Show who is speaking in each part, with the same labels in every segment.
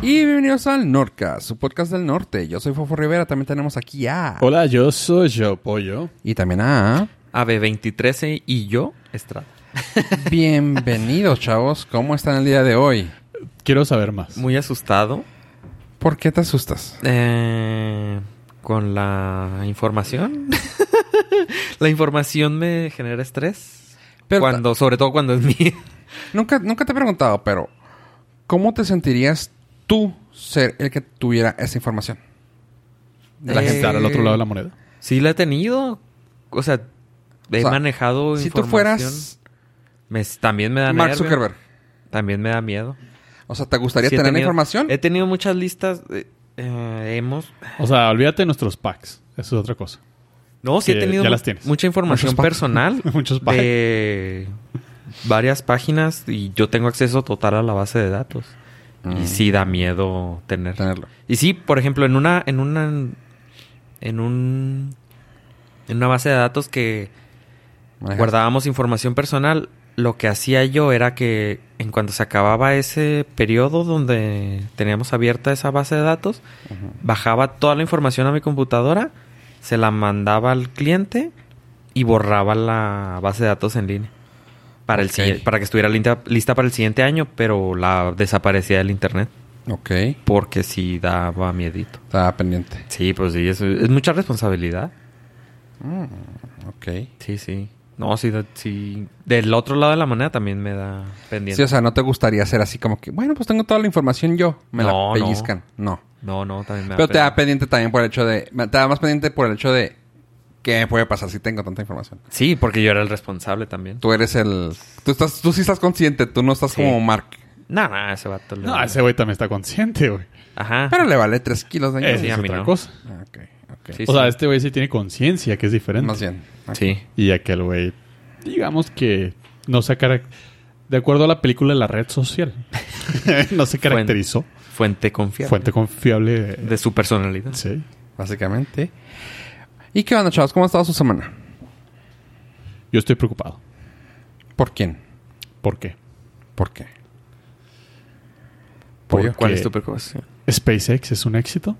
Speaker 1: Bienvenidos al Nordcast, su podcast del norte. Yo soy Fofo Rivera, también tenemos aquí a...
Speaker 2: Hola, yo soy yo, Pollo.
Speaker 1: Y también a...
Speaker 3: AB23 y yo, Estrada.
Speaker 1: Bienvenidos, chavos. ¿Cómo están el día de hoy?
Speaker 2: Quiero saber más.
Speaker 3: Muy asustado
Speaker 1: ¿Por qué te asustas?
Speaker 3: eh, con la información. la información me genera estrés.
Speaker 1: Pero
Speaker 3: cuando, sobre todo cuando es mía.
Speaker 1: Nunca, nunca te he preguntado, pero... ¿Cómo te sentirías tú ser el que tuviera esa información?
Speaker 2: La
Speaker 3: Eh,
Speaker 2: gente estar al otro lado de la moneda.
Speaker 3: Sí la he tenido. O sea, he
Speaker 1: O sea,
Speaker 3: manejado
Speaker 1: Si tú
Speaker 3: información.
Speaker 1: fueras
Speaker 3: Me- también me da
Speaker 1: Mark
Speaker 3: nervio.
Speaker 1: Zuckerberg.
Speaker 3: También me da miedo.
Speaker 1: O sea, ¿te gustaría
Speaker 3: Sí he
Speaker 1: tener la
Speaker 3: tenido-
Speaker 1: información?
Speaker 3: He tenido muchas listas. eh, eh, hemos...
Speaker 2: O sea, olvídate de nuestros packs. Eso es otra cosa.
Speaker 3: No, sí he
Speaker 2: Que
Speaker 3: tenido
Speaker 2: ya
Speaker 3: mu-
Speaker 2: las tienes.
Speaker 3: mucha información
Speaker 1: Muchos pa-
Speaker 3: personal
Speaker 2: Muchos pa-
Speaker 3: de varias páginas y yo tengo acceso total a la base de datos.
Speaker 1: Mm.
Speaker 3: Y sí da miedo tener.
Speaker 1: Tenerlo.
Speaker 3: Y sí, por ejemplo, en una en una en un en una base de datos que
Speaker 1: Manejas.
Speaker 3: guardábamos información personal, lo que hacía yo era que en cuanto se acababa ese periodo donde teníamos abierta esa base de datos,
Speaker 1: Ujú.
Speaker 3: bajaba toda la información a mi computadora, se la mandaba al cliente y borraba la base de datos en línea. Para, el
Speaker 1: Ok.
Speaker 3: siguiente- para que estuviera linta- lista para el siguiente año, pero la desaparecía del internet.
Speaker 1: Ok.
Speaker 3: Porque sí daba miedito.
Speaker 1: Estaba pendiente.
Speaker 3: Sí, pues sí, eso es mucha responsabilidad.
Speaker 1: Ok.
Speaker 3: Sí, sí. No, sí, da- sí. Del otro lado de la moneda también me da pendiente.
Speaker 1: Sí, o sea, no te gustaría ser así como que, bueno, pues tengo toda la información yo, me
Speaker 3: No,
Speaker 1: la
Speaker 3: no.
Speaker 1: pellizcan. No.
Speaker 3: no, no, también me
Speaker 1: Pero te da pendiente
Speaker 3: pendiente.
Speaker 1: también por el hecho de, te da más pendiente por el hecho de qué me puede pasar si tengo tanta información.
Speaker 3: Sí, porque yo era el responsable también.
Speaker 1: Tú eres el, tú estás, tú sí estás consciente, tú no estás
Speaker 3: Sí.
Speaker 1: como Mark.
Speaker 3: No, no, ese vato. le-
Speaker 2: No, ese güey también está consciente, güey.
Speaker 3: Ajá.
Speaker 1: Pero le vale tres kilos de
Speaker 2: Esa
Speaker 3: sí,
Speaker 1: año.
Speaker 3: a
Speaker 2: es
Speaker 3: mí
Speaker 2: otra
Speaker 3: no.
Speaker 2: cosa.
Speaker 1: Ah, ok, ok.
Speaker 3: Sí,
Speaker 2: O sea,
Speaker 3: sí.
Speaker 2: este güey sí tiene conciencia, que es diferente.
Speaker 1: Más bien. Ok.
Speaker 3: Sí.
Speaker 2: Y aquel güey, digamos que no se cara- De acuerdo a la película La Red Social, no se caracterizó.
Speaker 3: Fuente confiable.
Speaker 2: Fuente confiable. de-
Speaker 3: De su personalidad.
Speaker 2: Sí.
Speaker 1: Básicamente. ¿Y qué onda, chavos? ¿Cómo ha estado su semana?
Speaker 2: Yo estoy preocupado.
Speaker 1: ¿Por quién?
Speaker 2: ¿Por qué?
Speaker 1: ¿Por qué?
Speaker 2: Porque-
Speaker 3: ¿Cuál es tu preocupación?
Speaker 2: SpaceX es un éxito.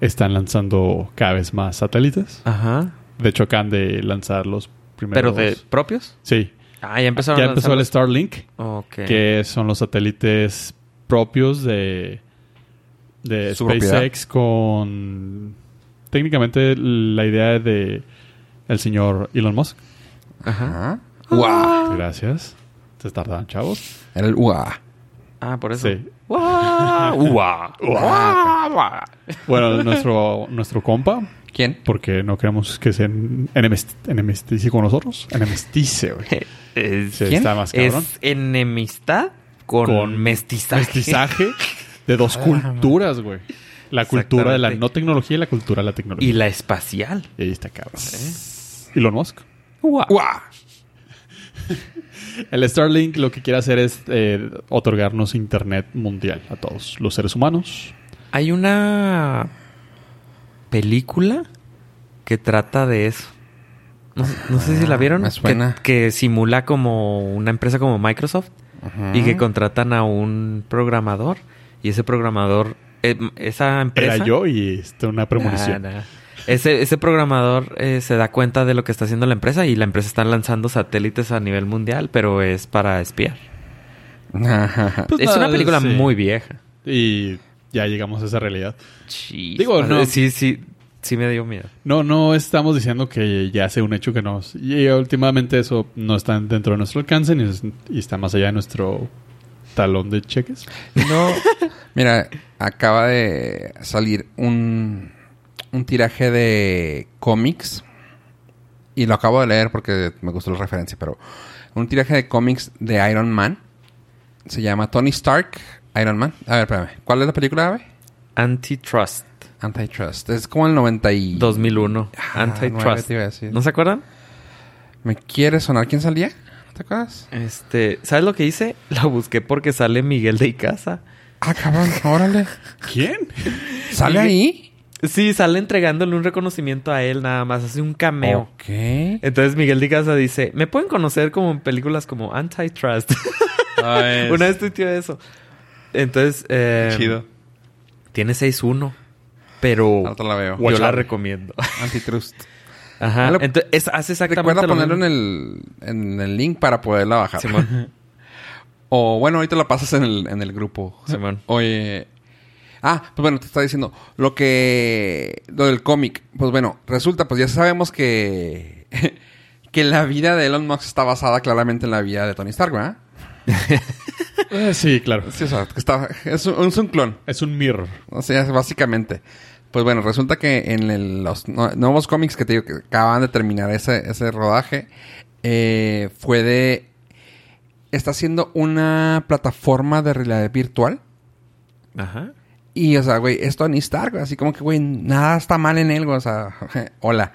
Speaker 2: Están lanzando cada vez más satélites.
Speaker 3: Ajá.
Speaker 2: De hecho, acaban de lanzar los
Speaker 3: ¿Pero
Speaker 2: primeros.
Speaker 3: de propios?
Speaker 2: Sí.
Speaker 3: Ah, ya empezaron
Speaker 2: Ya
Speaker 3: a lanzar
Speaker 2: empezó el Starlink,
Speaker 3: los- Ok.
Speaker 2: que son los satélites propios de, de
Speaker 1: Su propiedad.
Speaker 2: SpaceX con. Técnicamente la idea de el señor Elon Musk.
Speaker 3: Ajá.
Speaker 1: Ah. Uah.
Speaker 2: Gracias. Se tardan, chavos.
Speaker 1: Era el uah.
Speaker 3: Ah, por eso.
Speaker 2: Sí.
Speaker 3: ¡Guau! ¡Guau! ¡Guau! ¡Guau!
Speaker 2: Bueno, nuestro, nuestro compa,
Speaker 1: ¿Quién?
Speaker 2: porque no queremos que se en- enemist- enemistice con nosotros. Enemistice, güey.
Speaker 3: Es,
Speaker 2: Sí, está más cabrón.
Speaker 3: es enemistad con,
Speaker 2: Con
Speaker 3: mestizaje.
Speaker 2: Mestizaje de dos culturas, güey. La cultura de la
Speaker 3: Exactamente.
Speaker 2: no tecnología y la cultura de la
Speaker 3: Y
Speaker 2: tecnología.
Speaker 3: la ¿Eh? espacial.
Speaker 2: Y ahí está, cabrón. Elon Musk.
Speaker 3: ¡Guau!
Speaker 1: Uah.
Speaker 2: El Starlink lo que quiere hacer es eh, otorgarnos internet mundial a todos los seres humanos.
Speaker 3: Hay una película que trata de eso. No, no sé si la vieron.
Speaker 1: Me suena.
Speaker 3: Que, que simula como una empresa como Microsoft
Speaker 1: Ujú.
Speaker 3: y que contratan a un programador y ese programador, em, esa empresa...
Speaker 2: Era yo y esto una premonición.
Speaker 3: Nah, nah. Ese, ese programador eh, se da cuenta de lo que está haciendo la empresa y la empresa está lanzando satélites a nivel mundial, pero es para espiar.
Speaker 2: Pues
Speaker 3: es
Speaker 2: nada,
Speaker 3: una película
Speaker 2: sí.
Speaker 3: muy vieja.
Speaker 2: Y ya llegamos a esa realidad.
Speaker 3: Digo,
Speaker 2: Digo, no.
Speaker 3: Sí, sí, sí me dio miedo.
Speaker 2: No, no estamos diciendo que ya sea un hecho que nos... Y últimamente eso no está dentro de nuestro alcance ni es- y está más allá de nuestro talón de cheques.
Speaker 1: No. Mira, acaba de salir un, un tiraje de cómics. Y lo acabo de leer porque me gustó la referencia, pero un tiraje de cómics de Iron Man. Se llama Tony Stark, Iron Man. A ver, espérame. ¿Cuál es la película, Ave?
Speaker 3: Antitrust
Speaker 1: Antitrust. Es como el 90 y...
Speaker 3: 2001.
Speaker 1: Ah, nueve,
Speaker 3: Antitrust.
Speaker 1: te iba a decir.
Speaker 3: ¿No se acuerdan?
Speaker 1: ¿Me quiere sonar quién salía? ¿No ¿Te acuerdas?
Speaker 3: Este, ¿sabes lo que hice? La busqué porque sale Miguel de Icaza.
Speaker 1: Ah, cabrón, órale.
Speaker 2: ¿Quién?
Speaker 1: ¿Sale ahí?
Speaker 3: Sí, sale entregándole un reconocimiento a él nada más, hace un cameo.
Speaker 1: Oh. Ok.
Speaker 3: Entonces Miguel de Icaza dice, "Me pueden conocer como en películas como Antitrust." Una vez tuiteó eso. Entonces, eh,
Speaker 1: Chido.
Speaker 3: tiene 6-1, pero
Speaker 1: Ahorita la veo.
Speaker 3: yo la
Speaker 2: Watch out.
Speaker 3: recomiendo.
Speaker 1: Antitrust.
Speaker 3: Ajá.
Speaker 1: Dale.
Speaker 3: Entonces, es- hace exactamente
Speaker 1: Recuerda
Speaker 3: lo
Speaker 1: ponerlo en
Speaker 3: mismo.
Speaker 1: el, en el link para poderla bajar.
Speaker 3: Simón.
Speaker 1: O bueno, ahorita la pasas en el, en el grupo.
Speaker 3: Simón.
Speaker 1: Oye. Ah, pues bueno, te estaba diciendo. Lo que. Lo del cómic. Pues bueno, resulta, pues ya sabemos que. que la vida de Elon Musk está basada claramente en la vida de Tony Stark, ¿verdad?
Speaker 2: Eh, sí, claro.
Speaker 1: Sí, o sea, que está, es, un, es un clon.
Speaker 2: Es un mirror.
Speaker 1: O sea, básicamente. Pues bueno, resulta que en el- los no- nuevos cómics que te digo que acaban de terminar ese, ese rodaje, eh, fue de. Está haciendo una plataforma de realidad virtual.
Speaker 3: Ajá.
Speaker 1: Y, o sea, güey, es Tony Stark. güey. Así como que, güey, nada está mal en él, güey. O sea, hola.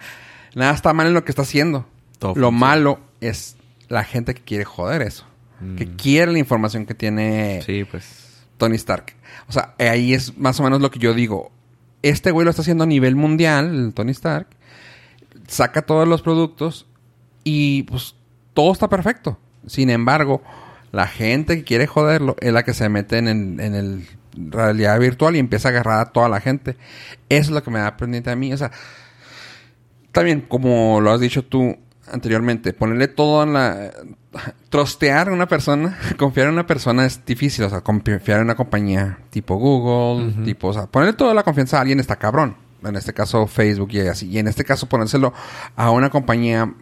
Speaker 1: Nada está mal en lo que está haciendo.
Speaker 3: Todo
Speaker 1: lo
Speaker 3: funciona.
Speaker 1: malo es la gente que quiere joder eso. Que quiere la información que tiene
Speaker 3: Mm. Sí, pues.
Speaker 1: Tony Stark. O sea, eh, ahí es más o menos lo que yo digo. Este güey lo está haciendo a nivel mundial, el Tony Stark. Saca todos los productos y pues todo está perfecto. Sin embargo, la gente que quiere joderlo es la que se mete en, el- en el realidad virtual y empieza a agarrar a toda la gente. Eso es lo que me da pendiente a mí. O sea, también, como lo has dicho tú anteriormente, ponerle todo en la... Trostear a una persona, confiar en una persona es difícil. O sea, confiar en una compañía tipo Google, tipo... O sea, ponerle toda la confianza a alguien está cabrón. En este caso, Facebook y así. Y en este caso, ponérselo a una compañía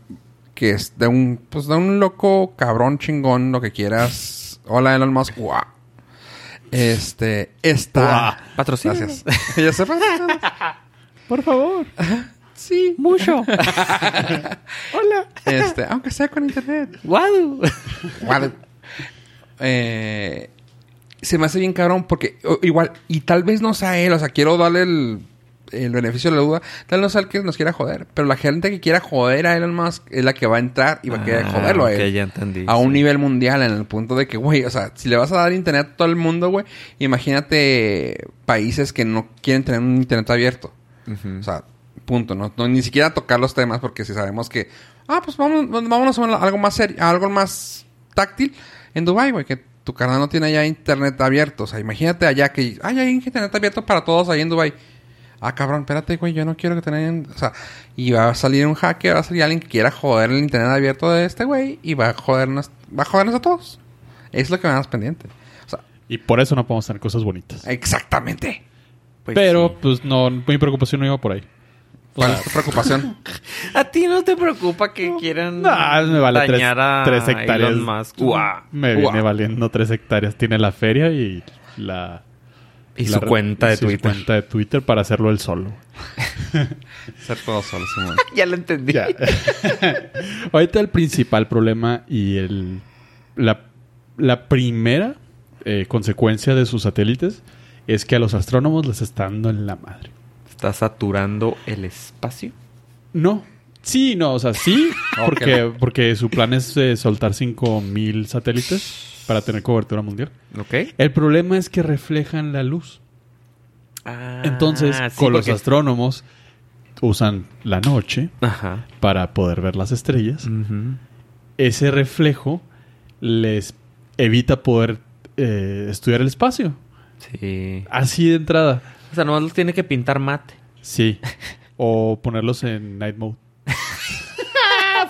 Speaker 1: que es de un... Pues de un loco cabrón chingón, lo que quieras. Hola, Elon Musk. Guau. Este... Está...
Speaker 3: Patrocina.
Speaker 1: Gracias. ya sepas.
Speaker 2: Por favor.
Speaker 1: Sí.
Speaker 3: Mucho.
Speaker 2: Hola.
Speaker 1: Este, aunque sea con internet.
Speaker 3: wow.
Speaker 1: Guau. Eh, se me hace bien cabrón porque o- igual, y tal vez no sea él, o sea, quiero darle el, el beneficio de la duda, tal vez no sea el que nos quiera joder, pero la gente que quiera joder a Elon Musk es la que va a entrar y va a querer
Speaker 3: Ah,
Speaker 1: joderlo a él.
Speaker 3: ok, ya entendí,
Speaker 1: A un
Speaker 3: sí.
Speaker 1: nivel mundial, en el punto de que, güey, o sea, si le vas a dar internet a todo el mundo, güey, imagínate países que no quieren tener un internet abierto. O sea, punto, ¿no? No, Ni siquiera tocar los temas porque si sabemos que, ah, pues vamos, vámonos a algo más serio, a algo más táctil en Dubai, güey, que tu canal no tiene allá internet abierto. O sea, imagínate allá que "Ay, hay internet abierto para todos ahí en Dubai. Ah, cabrón, espérate, güey, yo no quiero que tengan... O sea, y va a salir un hacker, va a salir alguien que quiera joder el internet abierto de este güey y va a jodernos, va a jodernos a todos. Es lo que me da más pendiente. O sea,
Speaker 2: Y por eso no podemos tener cosas bonitas.
Speaker 1: exactamente.
Speaker 3: Pues
Speaker 2: Pero,
Speaker 3: sí.
Speaker 2: pues, no, mi preocupación no iba por ahí.
Speaker 1: ¿Cuál es tu preocupación?
Speaker 3: a ti no te preocupa que quieran
Speaker 2: No, me vale tres,
Speaker 3: dañar a
Speaker 2: tres hectáreas.
Speaker 3: Elon Musk.
Speaker 1: Guau.
Speaker 2: Me
Speaker 1: Guau.
Speaker 2: viene valiendo tres hectáreas. Tiene la feria y la...
Speaker 3: Y
Speaker 2: la
Speaker 3: su
Speaker 2: re-
Speaker 3: cuenta
Speaker 2: y
Speaker 3: de
Speaker 2: su
Speaker 3: Twitter.
Speaker 2: cuenta de Twitter para hacerlo él solo.
Speaker 1: Ser todo solo, Simón.
Speaker 3: Ya lo entendí.
Speaker 2: Ya. Ahorita el principal problema y el la, la primera eh, consecuencia de sus satélites es que a los astrónomos les está dando en la madre.
Speaker 3: Está saturando el espacio.
Speaker 2: No. Sí, no, o sea, sí,
Speaker 1: Ok.
Speaker 2: porque, porque su plan es eh, soltar 5.000 satélites para tener cobertura mundial.
Speaker 3: ¿Ok?
Speaker 2: El problema es que reflejan la luz.
Speaker 3: Ah,
Speaker 2: Entonces,
Speaker 3: sí,
Speaker 2: con los
Speaker 3: porque-
Speaker 2: astrónomos usan la noche
Speaker 3: Ajá.
Speaker 2: para poder ver las estrellas. ese reflejo les evita poder eh, estudiar el espacio.
Speaker 3: Sí.
Speaker 2: Así de entrada.
Speaker 3: O sea, nomás los tiene que pintar mate.
Speaker 2: Sí. O ponerlos en night mode.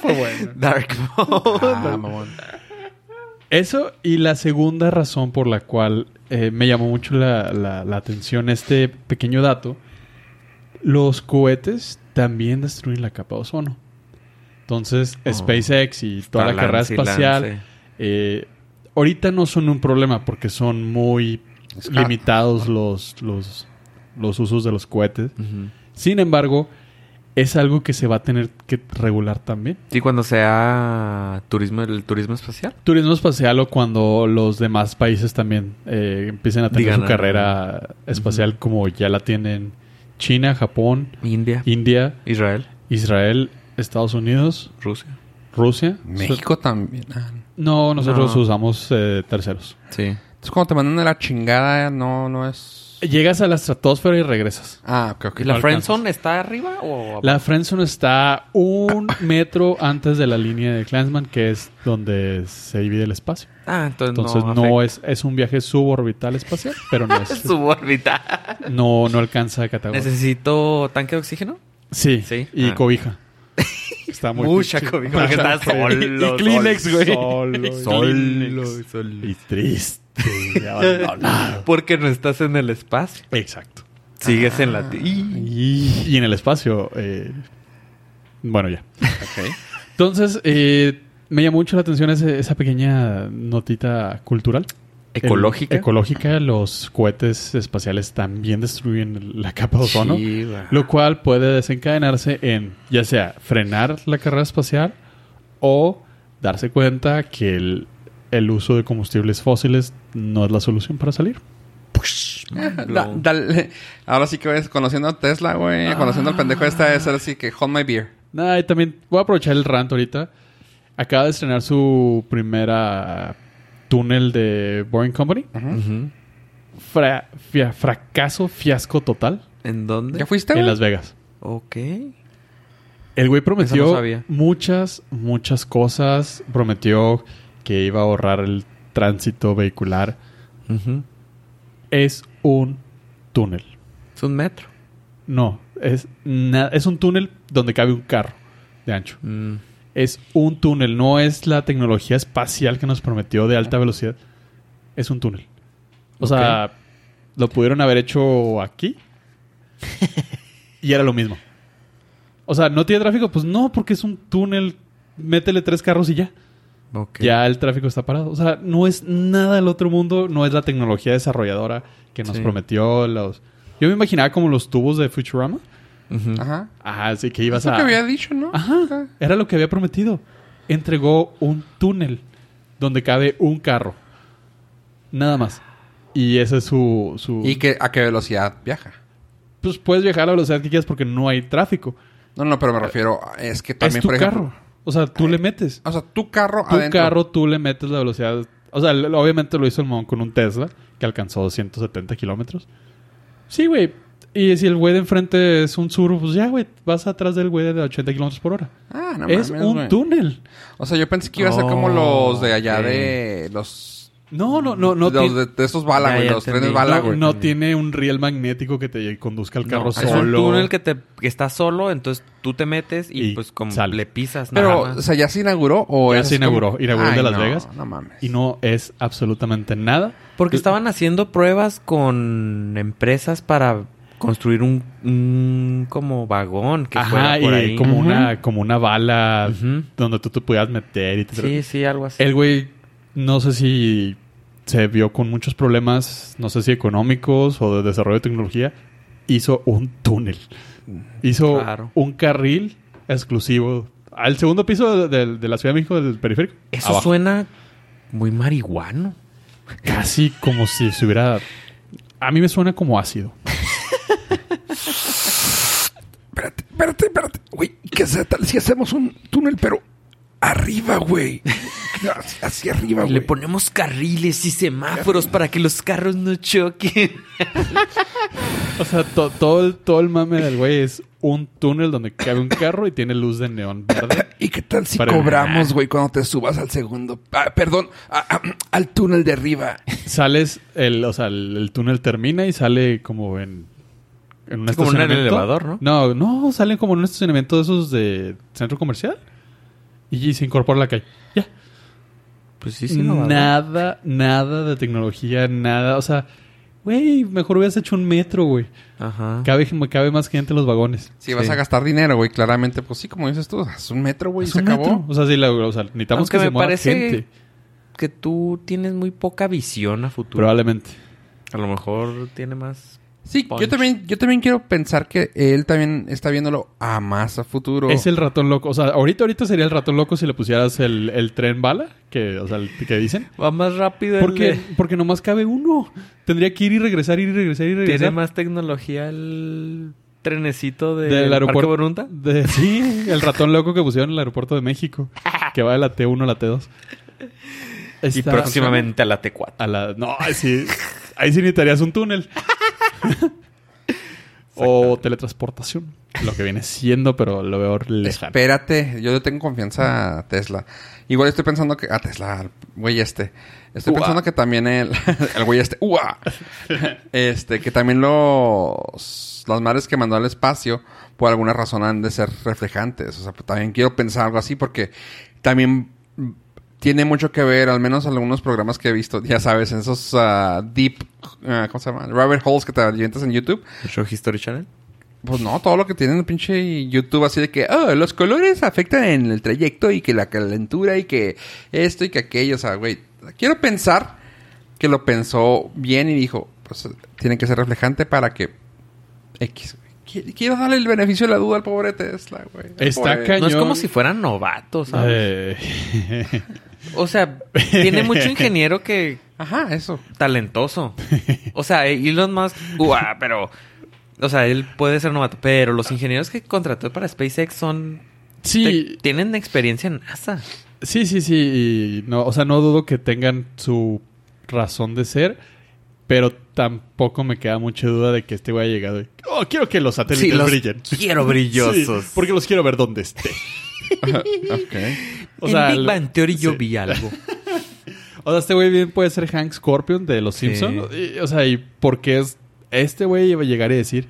Speaker 2: Fue bueno.
Speaker 3: Dark
Speaker 1: Ah, mamón.
Speaker 2: Eso y la segunda razón por la cual eh, me llamó mucho la, la- la atención este pequeño dato. Los cohetes también destruyen la capa de ozono. Entonces,
Speaker 3: Oh.
Speaker 2: SpaceX y toda la carrera espacial Eh, ahorita no son un problema porque son muy
Speaker 1: Es hard.
Speaker 2: limitados los, los, los usos de los cohetes. Sin embargo, es algo que se va a tener que regular también.
Speaker 3: Y cuando sea turismo, el turismo espacial.
Speaker 2: Turismo espacial o cuando los demás países también eh, empiecen a tener
Speaker 3: Digan
Speaker 2: su
Speaker 3: algo.
Speaker 2: carrera espacial como ya la tienen China, Japón,
Speaker 3: India.
Speaker 2: India,
Speaker 3: Israel.
Speaker 2: Israel, Estados Unidos,
Speaker 3: Rusia.
Speaker 2: Rusia.
Speaker 1: México también. Ah, no.
Speaker 2: No, nosotros
Speaker 3: No.
Speaker 2: usamos eh, terceros.
Speaker 3: Sí.
Speaker 1: Entonces, cuando te mandan a la chingada, no, no es.
Speaker 2: Llegas a la estratosfera y regresas.
Speaker 1: Ah, ok, ok.
Speaker 3: ¿Y la
Speaker 2: no
Speaker 3: friendzone está arriba o abajo?
Speaker 2: La Friendzone está un metro antes de la línea de Clansman, que es donde se divide el espacio.
Speaker 3: Ah, entonces,
Speaker 2: Entonces no,
Speaker 3: no, afecta.
Speaker 2: es, es un viaje suborbital espacial, pero no es,
Speaker 3: Suborbital.
Speaker 2: no, no alcanza a categoría.
Speaker 3: Necesito tanque de oxígeno.
Speaker 2: Sí,
Speaker 3: Sí.
Speaker 2: y
Speaker 3: Ah.
Speaker 2: cobija. Está muy
Speaker 3: Mucha
Speaker 2: pinche-
Speaker 3: cobija, porque
Speaker 2: Mucha
Speaker 3: está solo,
Speaker 2: Y Kleenex,
Speaker 3: solo,
Speaker 2: güey.
Speaker 3: solo,
Speaker 2: Y
Speaker 3: solo,
Speaker 2: Kleenex.
Speaker 3: solo.
Speaker 2: Y triste. y abandonado.
Speaker 3: Porque no estás en el espacio.
Speaker 2: Exacto.
Speaker 3: Sigues en la. Y-
Speaker 2: Y, y en el espacio. eh, bueno, ya.
Speaker 1: Ok.
Speaker 2: Entonces, eh, me llamó mucho la atención ese- esa pequeña notita cultural.
Speaker 3: Ecológica.
Speaker 2: El- ecológica. Los cohetes espaciales también destruyen la capa de ozono.
Speaker 3: Sí, güey.
Speaker 2: Lo cual puede desencadenarse en ya sea frenar la carrera espacial o darse cuenta que el, el uso de combustibles fósiles no es la solución para salir.
Speaker 1: Ah, Da-
Speaker 3: Lo-
Speaker 1: dale. Ahora sí que ves, conociendo a Tesla, güey,
Speaker 3: Ah.
Speaker 1: conociendo al pendejo este, esta, es así que hold my beer.
Speaker 2: Nah, y también voy a aprovechar el rant ahorita. Acaba de estrenar su primera túnel de Boring Company.
Speaker 3: Ujú.
Speaker 2: Fra- fia- fracaso, fiasco total
Speaker 3: ¿En dónde?
Speaker 1: ¿Ya fuiste,
Speaker 2: en
Speaker 1: güey?
Speaker 2: Las Vegas.
Speaker 3: Ok.
Speaker 2: El güey prometió
Speaker 3: Eso no sabía.
Speaker 2: muchas, muchas cosas. Prometió que iba a ahorrar el tránsito vehicular.
Speaker 3: Ujú.
Speaker 2: Es un túnel.
Speaker 3: Es un metro.
Speaker 2: No, es, na- es un túnel donde cabe un carro de ancho.
Speaker 3: Mm.
Speaker 2: Es un túnel, no es la tecnología espacial que nos prometió de alta velocidad. Es un túnel. O sea, lo pudieron haber hecho aquí y era lo mismo. O sea, ¿no tiene tráfico? Pues no, porque es un túnel. Métele tres carros y ya.
Speaker 3: Ok.
Speaker 2: Ya el tráfico está parado. O sea, no es nada del otro mundo, no es la tecnología desarrolladora que nos
Speaker 3: Sí.
Speaker 2: prometió los... Yo me imaginaba como los tubos de Futurama.
Speaker 3: Ujú.
Speaker 1: Ajá.
Speaker 2: Ajá, así Ah, que
Speaker 1: Es
Speaker 2: ibas
Speaker 1: lo
Speaker 2: a...
Speaker 1: que había dicho, ¿no?
Speaker 2: Ajá, era lo que había prometido. Entregó un túnel donde cabe un carro. Nada más. Y ese es su... su...
Speaker 1: ¿Y que, a qué velocidad viaja?
Speaker 2: Pues puedes viajar a la velocidad que quieras porque no hay tráfico.
Speaker 1: No, no, pero me refiero, a- es que
Speaker 2: Es
Speaker 1: también,
Speaker 2: tu
Speaker 1: por ejemplo...
Speaker 2: carro. O sea, tú le metes.
Speaker 1: O sea, tu carro
Speaker 2: Tu
Speaker 1: adentro.
Speaker 2: carro tú le metes la velocidad... O sea, l- obviamente lo hizo el mon con un Tesla que alcanzó 270 kilómetros. Sí, güey. Y si el güey de enfrente es un sur, pues ya, güey, vas atrás del güey de 80 kilómetros por hora.
Speaker 1: Ah, no
Speaker 2: es
Speaker 1: mames,
Speaker 2: un
Speaker 1: güey.
Speaker 2: túnel.
Speaker 1: O sea, yo pensé que iba a ser como
Speaker 3: Oh,
Speaker 1: los de allá
Speaker 3: ok.
Speaker 1: de... Los...
Speaker 2: No, no, no, no.
Speaker 1: los
Speaker 2: ti-
Speaker 1: de, de esos balas,
Speaker 3: Ya,
Speaker 1: güey.
Speaker 3: ya
Speaker 1: Los
Speaker 3: entendí.
Speaker 1: trenes balas,
Speaker 2: no,
Speaker 1: güey.
Speaker 2: no tiene un riel magnético que te conduzca al carro
Speaker 3: No,
Speaker 2: solo.
Speaker 3: Es un túnel que, te, que está solo, entonces tú te metes y,
Speaker 2: Y
Speaker 3: pues como
Speaker 2: sale.
Speaker 3: le pisas. nada
Speaker 1: Pero,
Speaker 3: más.
Speaker 1: o sea, ¿ya se inauguró o
Speaker 2: Ya
Speaker 1: es
Speaker 2: se inauguró.
Speaker 1: como-
Speaker 2: Inauguró el de
Speaker 1: Ay,
Speaker 2: Las
Speaker 1: no,
Speaker 2: Vegas.
Speaker 1: No mames.
Speaker 2: Y no es absolutamente nada.
Speaker 3: Porque estaban haciendo pruebas con empresas para construir un, un como vagón que fuera
Speaker 2: Ajá, y
Speaker 3: por ahí.
Speaker 2: como,
Speaker 1: Ujú.
Speaker 2: una, como una bala
Speaker 3: Ujú.
Speaker 2: donde tú te pudieras meter y te...
Speaker 3: Sí, sí, algo así.
Speaker 2: El güey, no sé si se vio con muchos problemas, no sé si económicos o de desarrollo de tecnología, hizo un túnel. Hizo
Speaker 3: Claro.
Speaker 2: un carril exclusivo al segundo piso de, de- de la Ciudad de México del periférico.
Speaker 3: Eso
Speaker 2: abajo.
Speaker 3: suena muy marihuano.
Speaker 2: Casi como si se hubiera... A mí me suena como ácido.
Speaker 4: Espérate, espérate, espérate. Güey, ¿qué se tal si hacemos un túnel, pero arriba, güey? Hacia, hacia
Speaker 1: Ah,
Speaker 4: arriba,
Speaker 3: Y le
Speaker 4: güey.
Speaker 3: ponemos carriles y semáforos para que los carros no choquen.
Speaker 2: O sea, to- todo, el, todo el mame del güey es un túnel donde cabe un carro y tiene luz de neón verde.
Speaker 4: ¿Y qué tal si
Speaker 2: Para-
Speaker 4: cobramos, güey, cuando te subas al segundo? ah, perdón, a- a- al túnel de arriba.
Speaker 2: Sales, el, o sea, el, el túnel termina y sale como en, en un
Speaker 3: Es como en un
Speaker 2: estacionamiento.
Speaker 3: elevador, ¿no?
Speaker 2: No, no, sale como en un estacionamiento de esos de centro comercial y se incorpora a la calle. Ya.
Speaker 3: Pues sí,
Speaker 2: nada, nada de tecnología, nada. O sea, güey, mejor hubieras hecho un metro, güey.
Speaker 3: Ajá.
Speaker 2: Cabe, cabe más gente en los vagones.
Speaker 1: Si vas a gastar dinero, güey, claramente, pues sí, como dices tú, es un metro, güey, y
Speaker 2: Es
Speaker 1: se
Speaker 2: un
Speaker 1: acabó.
Speaker 2: metro. O sea, sí, la- o sea, necesitamos
Speaker 3: Aunque
Speaker 2: que se
Speaker 3: me
Speaker 2: mueva
Speaker 3: parece
Speaker 2: gente.
Speaker 3: Que tú tienes muy poca visión a futuro.
Speaker 2: Probablemente.
Speaker 3: A lo mejor tiene más.
Speaker 1: Sí,
Speaker 3: Punch.
Speaker 1: yo también, yo también quiero pensar que él también está viéndolo a más a futuro.
Speaker 2: Es el ratón loco. O sea, ahorita, ahorita sería el ratón loco si le pusieras el, el tren bala, que, o sea, el que dicen.
Speaker 3: Va más rápido.
Speaker 2: Porque, porque nomás cabe uno. Tendría que ir y regresar, ir y regresar, ir y regresar.
Speaker 3: Tiene más tecnología el trenecito de
Speaker 2: del aeropuerto.
Speaker 3: Parque Borunta.
Speaker 2: de- sí, el ratón loco que pusieron en el aeropuerto de México. Que va de la T1 a la T2.
Speaker 3: Y
Speaker 2: Está-
Speaker 3: próximamente a la T4.
Speaker 2: A la, no, ahí sí, ahí sí necesitarías un túnel. o teletransportación. Lo que viene siendo, pero lo veo lejano.
Speaker 1: Espérate, yo le tengo confianza a Tesla. Igual estoy pensando que. A Tesla, al güey este. Estoy
Speaker 2: Ua.
Speaker 1: pensando que también el. El güey este. ¡Ua! Este, que también los. Las madres que mandó al espacio, por alguna razón han de ser reflejantes. O sea, pues, también quiero pensar algo así porque también mm, tiene mucho que ver, al menos algunos programas que he visto, ya sabes, en esos ah, deep. ah, ¿Cómo se llama? Rabbit holes que te alimentas en YouTube.
Speaker 3: ¿El show History Channel?
Speaker 1: Pues no, todo lo que tienen el pinche YouTube así de que, oh, los colores afectan en el trayecto y que la calentura y que esto y que aquello, o sea, güey, quiero pensar que lo pensó bien y dijo, pues tiene que ser reflejante para que X. güey. Qui- Quiero darle el beneficio de la duda al pobre Tesla, güey. Pues, Al
Speaker 2: Está
Speaker 1: pobre-
Speaker 2: ca-
Speaker 3: No es
Speaker 2: Cañón.
Speaker 3: como si fueran novatos, ¿sabes?
Speaker 2: Eh,
Speaker 3: O sea, tiene mucho ingeniero que
Speaker 1: Ajá, eso.
Speaker 3: talentoso. O sea, eh, Elon Musk, uah, pero o sea, él puede ser novato, pero los ingenieros que contrató para SpaceX son
Speaker 2: sí,
Speaker 3: te- tienen experiencia en NASA.
Speaker 2: sí, sí, sí. y no, o sea, no dudo que tengan su razón de ser, pero tampoco me queda mucha duda de que este güey ha llegado. y, oh, quiero que los satélites
Speaker 3: Sí, los
Speaker 2: brillen.
Speaker 3: quiero brillosos.
Speaker 2: Sí, porque los quiero ver donde esté.
Speaker 1: Ok.
Speaker 2: O sea,
Speaker 3: en Big
Speaker 2: el-
Speaker 3: Bang Theory yo
Speaker 2: sí.
Speaker 3: vi algo.
Speaker 2: O sea, este güey bien puede ser Hank Scorpion de Los
Speaker 3: Sí.
Speaker 2: Simpsons. o sea, ¿y por qué es este güey iba a llegar y decir,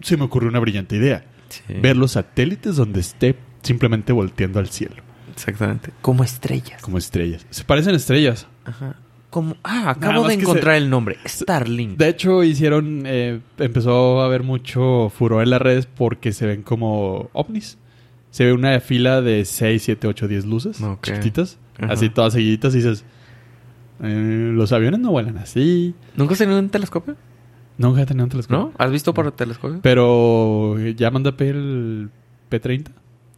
Speaker 2: se me ocurrió una brillante idea?
Speaker 3: Sí,
Speaker 2: Ver los satélites donde esté simplemente volteando al cielo,
Speaker 3: exactamente. Como estrellas.
Speaker 2: como estrellas. Se parecen estrellas.
Speaker 3: Ajá. Como, ah,
Speaker 2: Nada
Speaker 3: acabo
Speaker 2: más
Speaker 3: de
Speaker 2: que
Speaker 3: encontrar el nombre. Starlink.
Speaker 2: De hecho, hicieron, eh, empezó a haber mucho furor en las redes porque se ven como ovnis. Se ve una fila de 6, 7, 8, 10 luces
Speaker 3: Ok.
Speaker 2: chiquititas,
Speaker 3: Ajá.
Speaker 2: así todas seguiditas y dices, "Eh, los aviones no vuelan así.
Speaker 3: ¿Nunca has tenido un telescopio?
Speaker 2: Nunca he tenido un telescopio.
Speaker 3: ¿No? ¿Has visto por el telescopio?
Speaker 2: Pero eh, ya mandé a pedir el P30.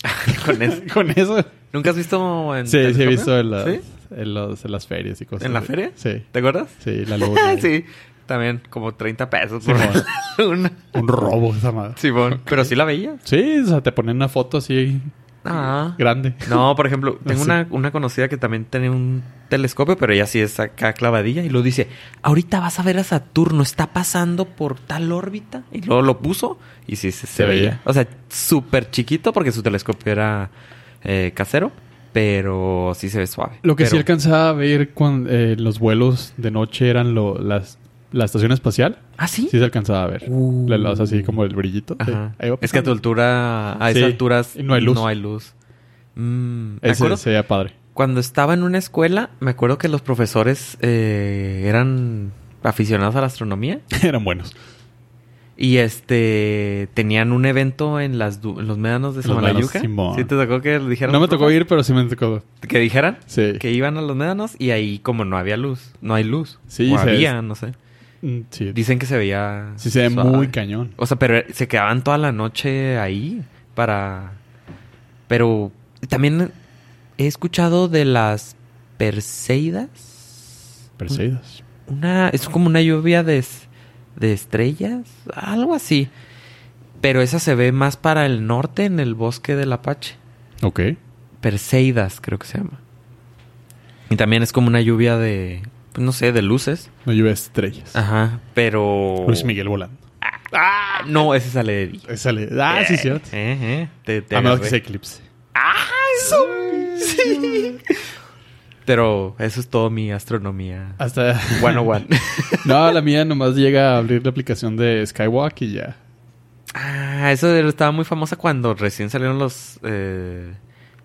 Speaker 3: Con eso.
Speaker 2: Con eso.
Speaker 3: ¿Nunca has visto en
Speaker 2: Sí, sí, he
Speaker 3: telescopio?
Speaker 2: visto uh, en las,
Speaker 3: ¿Sí?
Speaker 2: en los- en las ferias y cosas.
Speaker 3: ¿En la
Speaker 2: así.
Speaker 3: feria?
Speaker 2: Sí.
Speaker 3: ¿Te acuerdas?
Speaker 2: Sí, la luna.
Speaker 3: sí. También como 30 pesos
Speaker 2: Sí,
Speaker 3: por
Speaker 2: bueno.
Speaker 3: una.
Speaker 2: Un robo esa madre. Sí.
Speaker 3: Simón. Pero sí la veía.
Speaker 2: o sea, te ponen una foto así
Speaker 3: Ah.
Speaker 2: grande.
Speaker 3: No, por ejemplo, tengo
Speaker 2: Sí.
Speaker 3: una, una conocida que también tiene un telescopio, pero ella sí es acá clavadilla y lo dice, ahorita vas a ver a Saturno, está pasando por tal órbita. Y luego lo puso y sí se, se
Speaker 2: Se
Speaker 3: veía.
Speaker 2: veía.
Speaker 3: O sea, súper chiquito porque su telescopio era eh, casero, pero sí se ve suave.
Speaker 2: Lo que sí
Speaker 3: Pero-
Speaker 2: alcanzaba a ver cuando eh, los vuelos de noche eran lo- las, la estación espacial.
Speaker 3: ¿Ah, sí?
Speaker 2: Sí se alcanzaba a ver.
Speaker 3: Uh.
Speaker 2: La luz así como el brillito. Sí.
Speaker 3: Ajá.
Speaker 2: Ahí va
Speaker 3: Es que a tu
Speaker 2: pasando.
Speaker 3: altura, a
Speaker 2: Sí,
Speaker 3: esas alturas,
Speaker 2: y no hay luz.
Speaker 3: No hay luz. Mm, ¿te
Speaker 2: Ese
Speaker 3: acuerdas?
Speaker 2: sería padre.
Speaker 3: Cuando estaba en una escuela, me acuerdo que los profesores eh, eran aficionados a la astronomía
Speaker 2: Eran buenos.
Speaker 3: y este tenían un evento en las du- en los médanos de
Speaker 2: En los
Speaker 3: Samalayuca.
Speaker 2: médanos, Simón.
Speaker 3: ¿Sí te tocó que le dijeran?
Speaker 2: No me
Speaker 3: los
Speaker 2: tocó
Speaker 3: profes?
Speaker 2: ir, pero sí me tocó.
Speaker 3: Que dijeran
Speaker 2: Sí.
Speaker 3: que iban a los médanos y ahí como no había luz, no hay luz.
Speaker 2: Sí,
Speaker 3: O
Speaker 2: se-
Speaker 3: había, no sé.
Speaker 2: Mm, Sí.
Speaker 3: Dicen que se veía
Speaker 2: Sí se ve
Speaker 3: suave.
Speaker 2: muy cañón.
Speaker 3: O sea, pero se quedaban toda la noche ahí para... Pero también he escuchado de las Perseidas.
Speaker 2: Perseidas.
Speaker 3: Una... Es como una lluvia de, es- de estrellas, algo así. Pero esa se ve más para el norte, en el bosque del Apache.
Speaker 2: Ok.
Speaker 3: Perseidas, creo que se llama. Y también es como una lluvia de... pues, No sé, de luces.
Speaker 2: No llueve estrellas.
Speaker 3: Ajá, pero...
Speaker 2: Luis Miguel volando.
Speaker 3: Ah, no, ese sale de día.
Speaker 2: Ahí Sale. Ah, sí, sí.
Speaker 3: Eh, eh, te- te
Speaker 2: A menos que
Speaker 3: agarré.
Speaker 2: sea eclipse.
Speaker 3: Pero eso es todo mi astronomía.
Speaker 2: Hasta.
Speaker 3: Bueno, one.
Speaker 2: No, la mía nomás llega a abrir la aplicación de Skywalk y ya.
Speaker 3: ah, eso de- estaba muy famosa cuando recién salieron los. eh,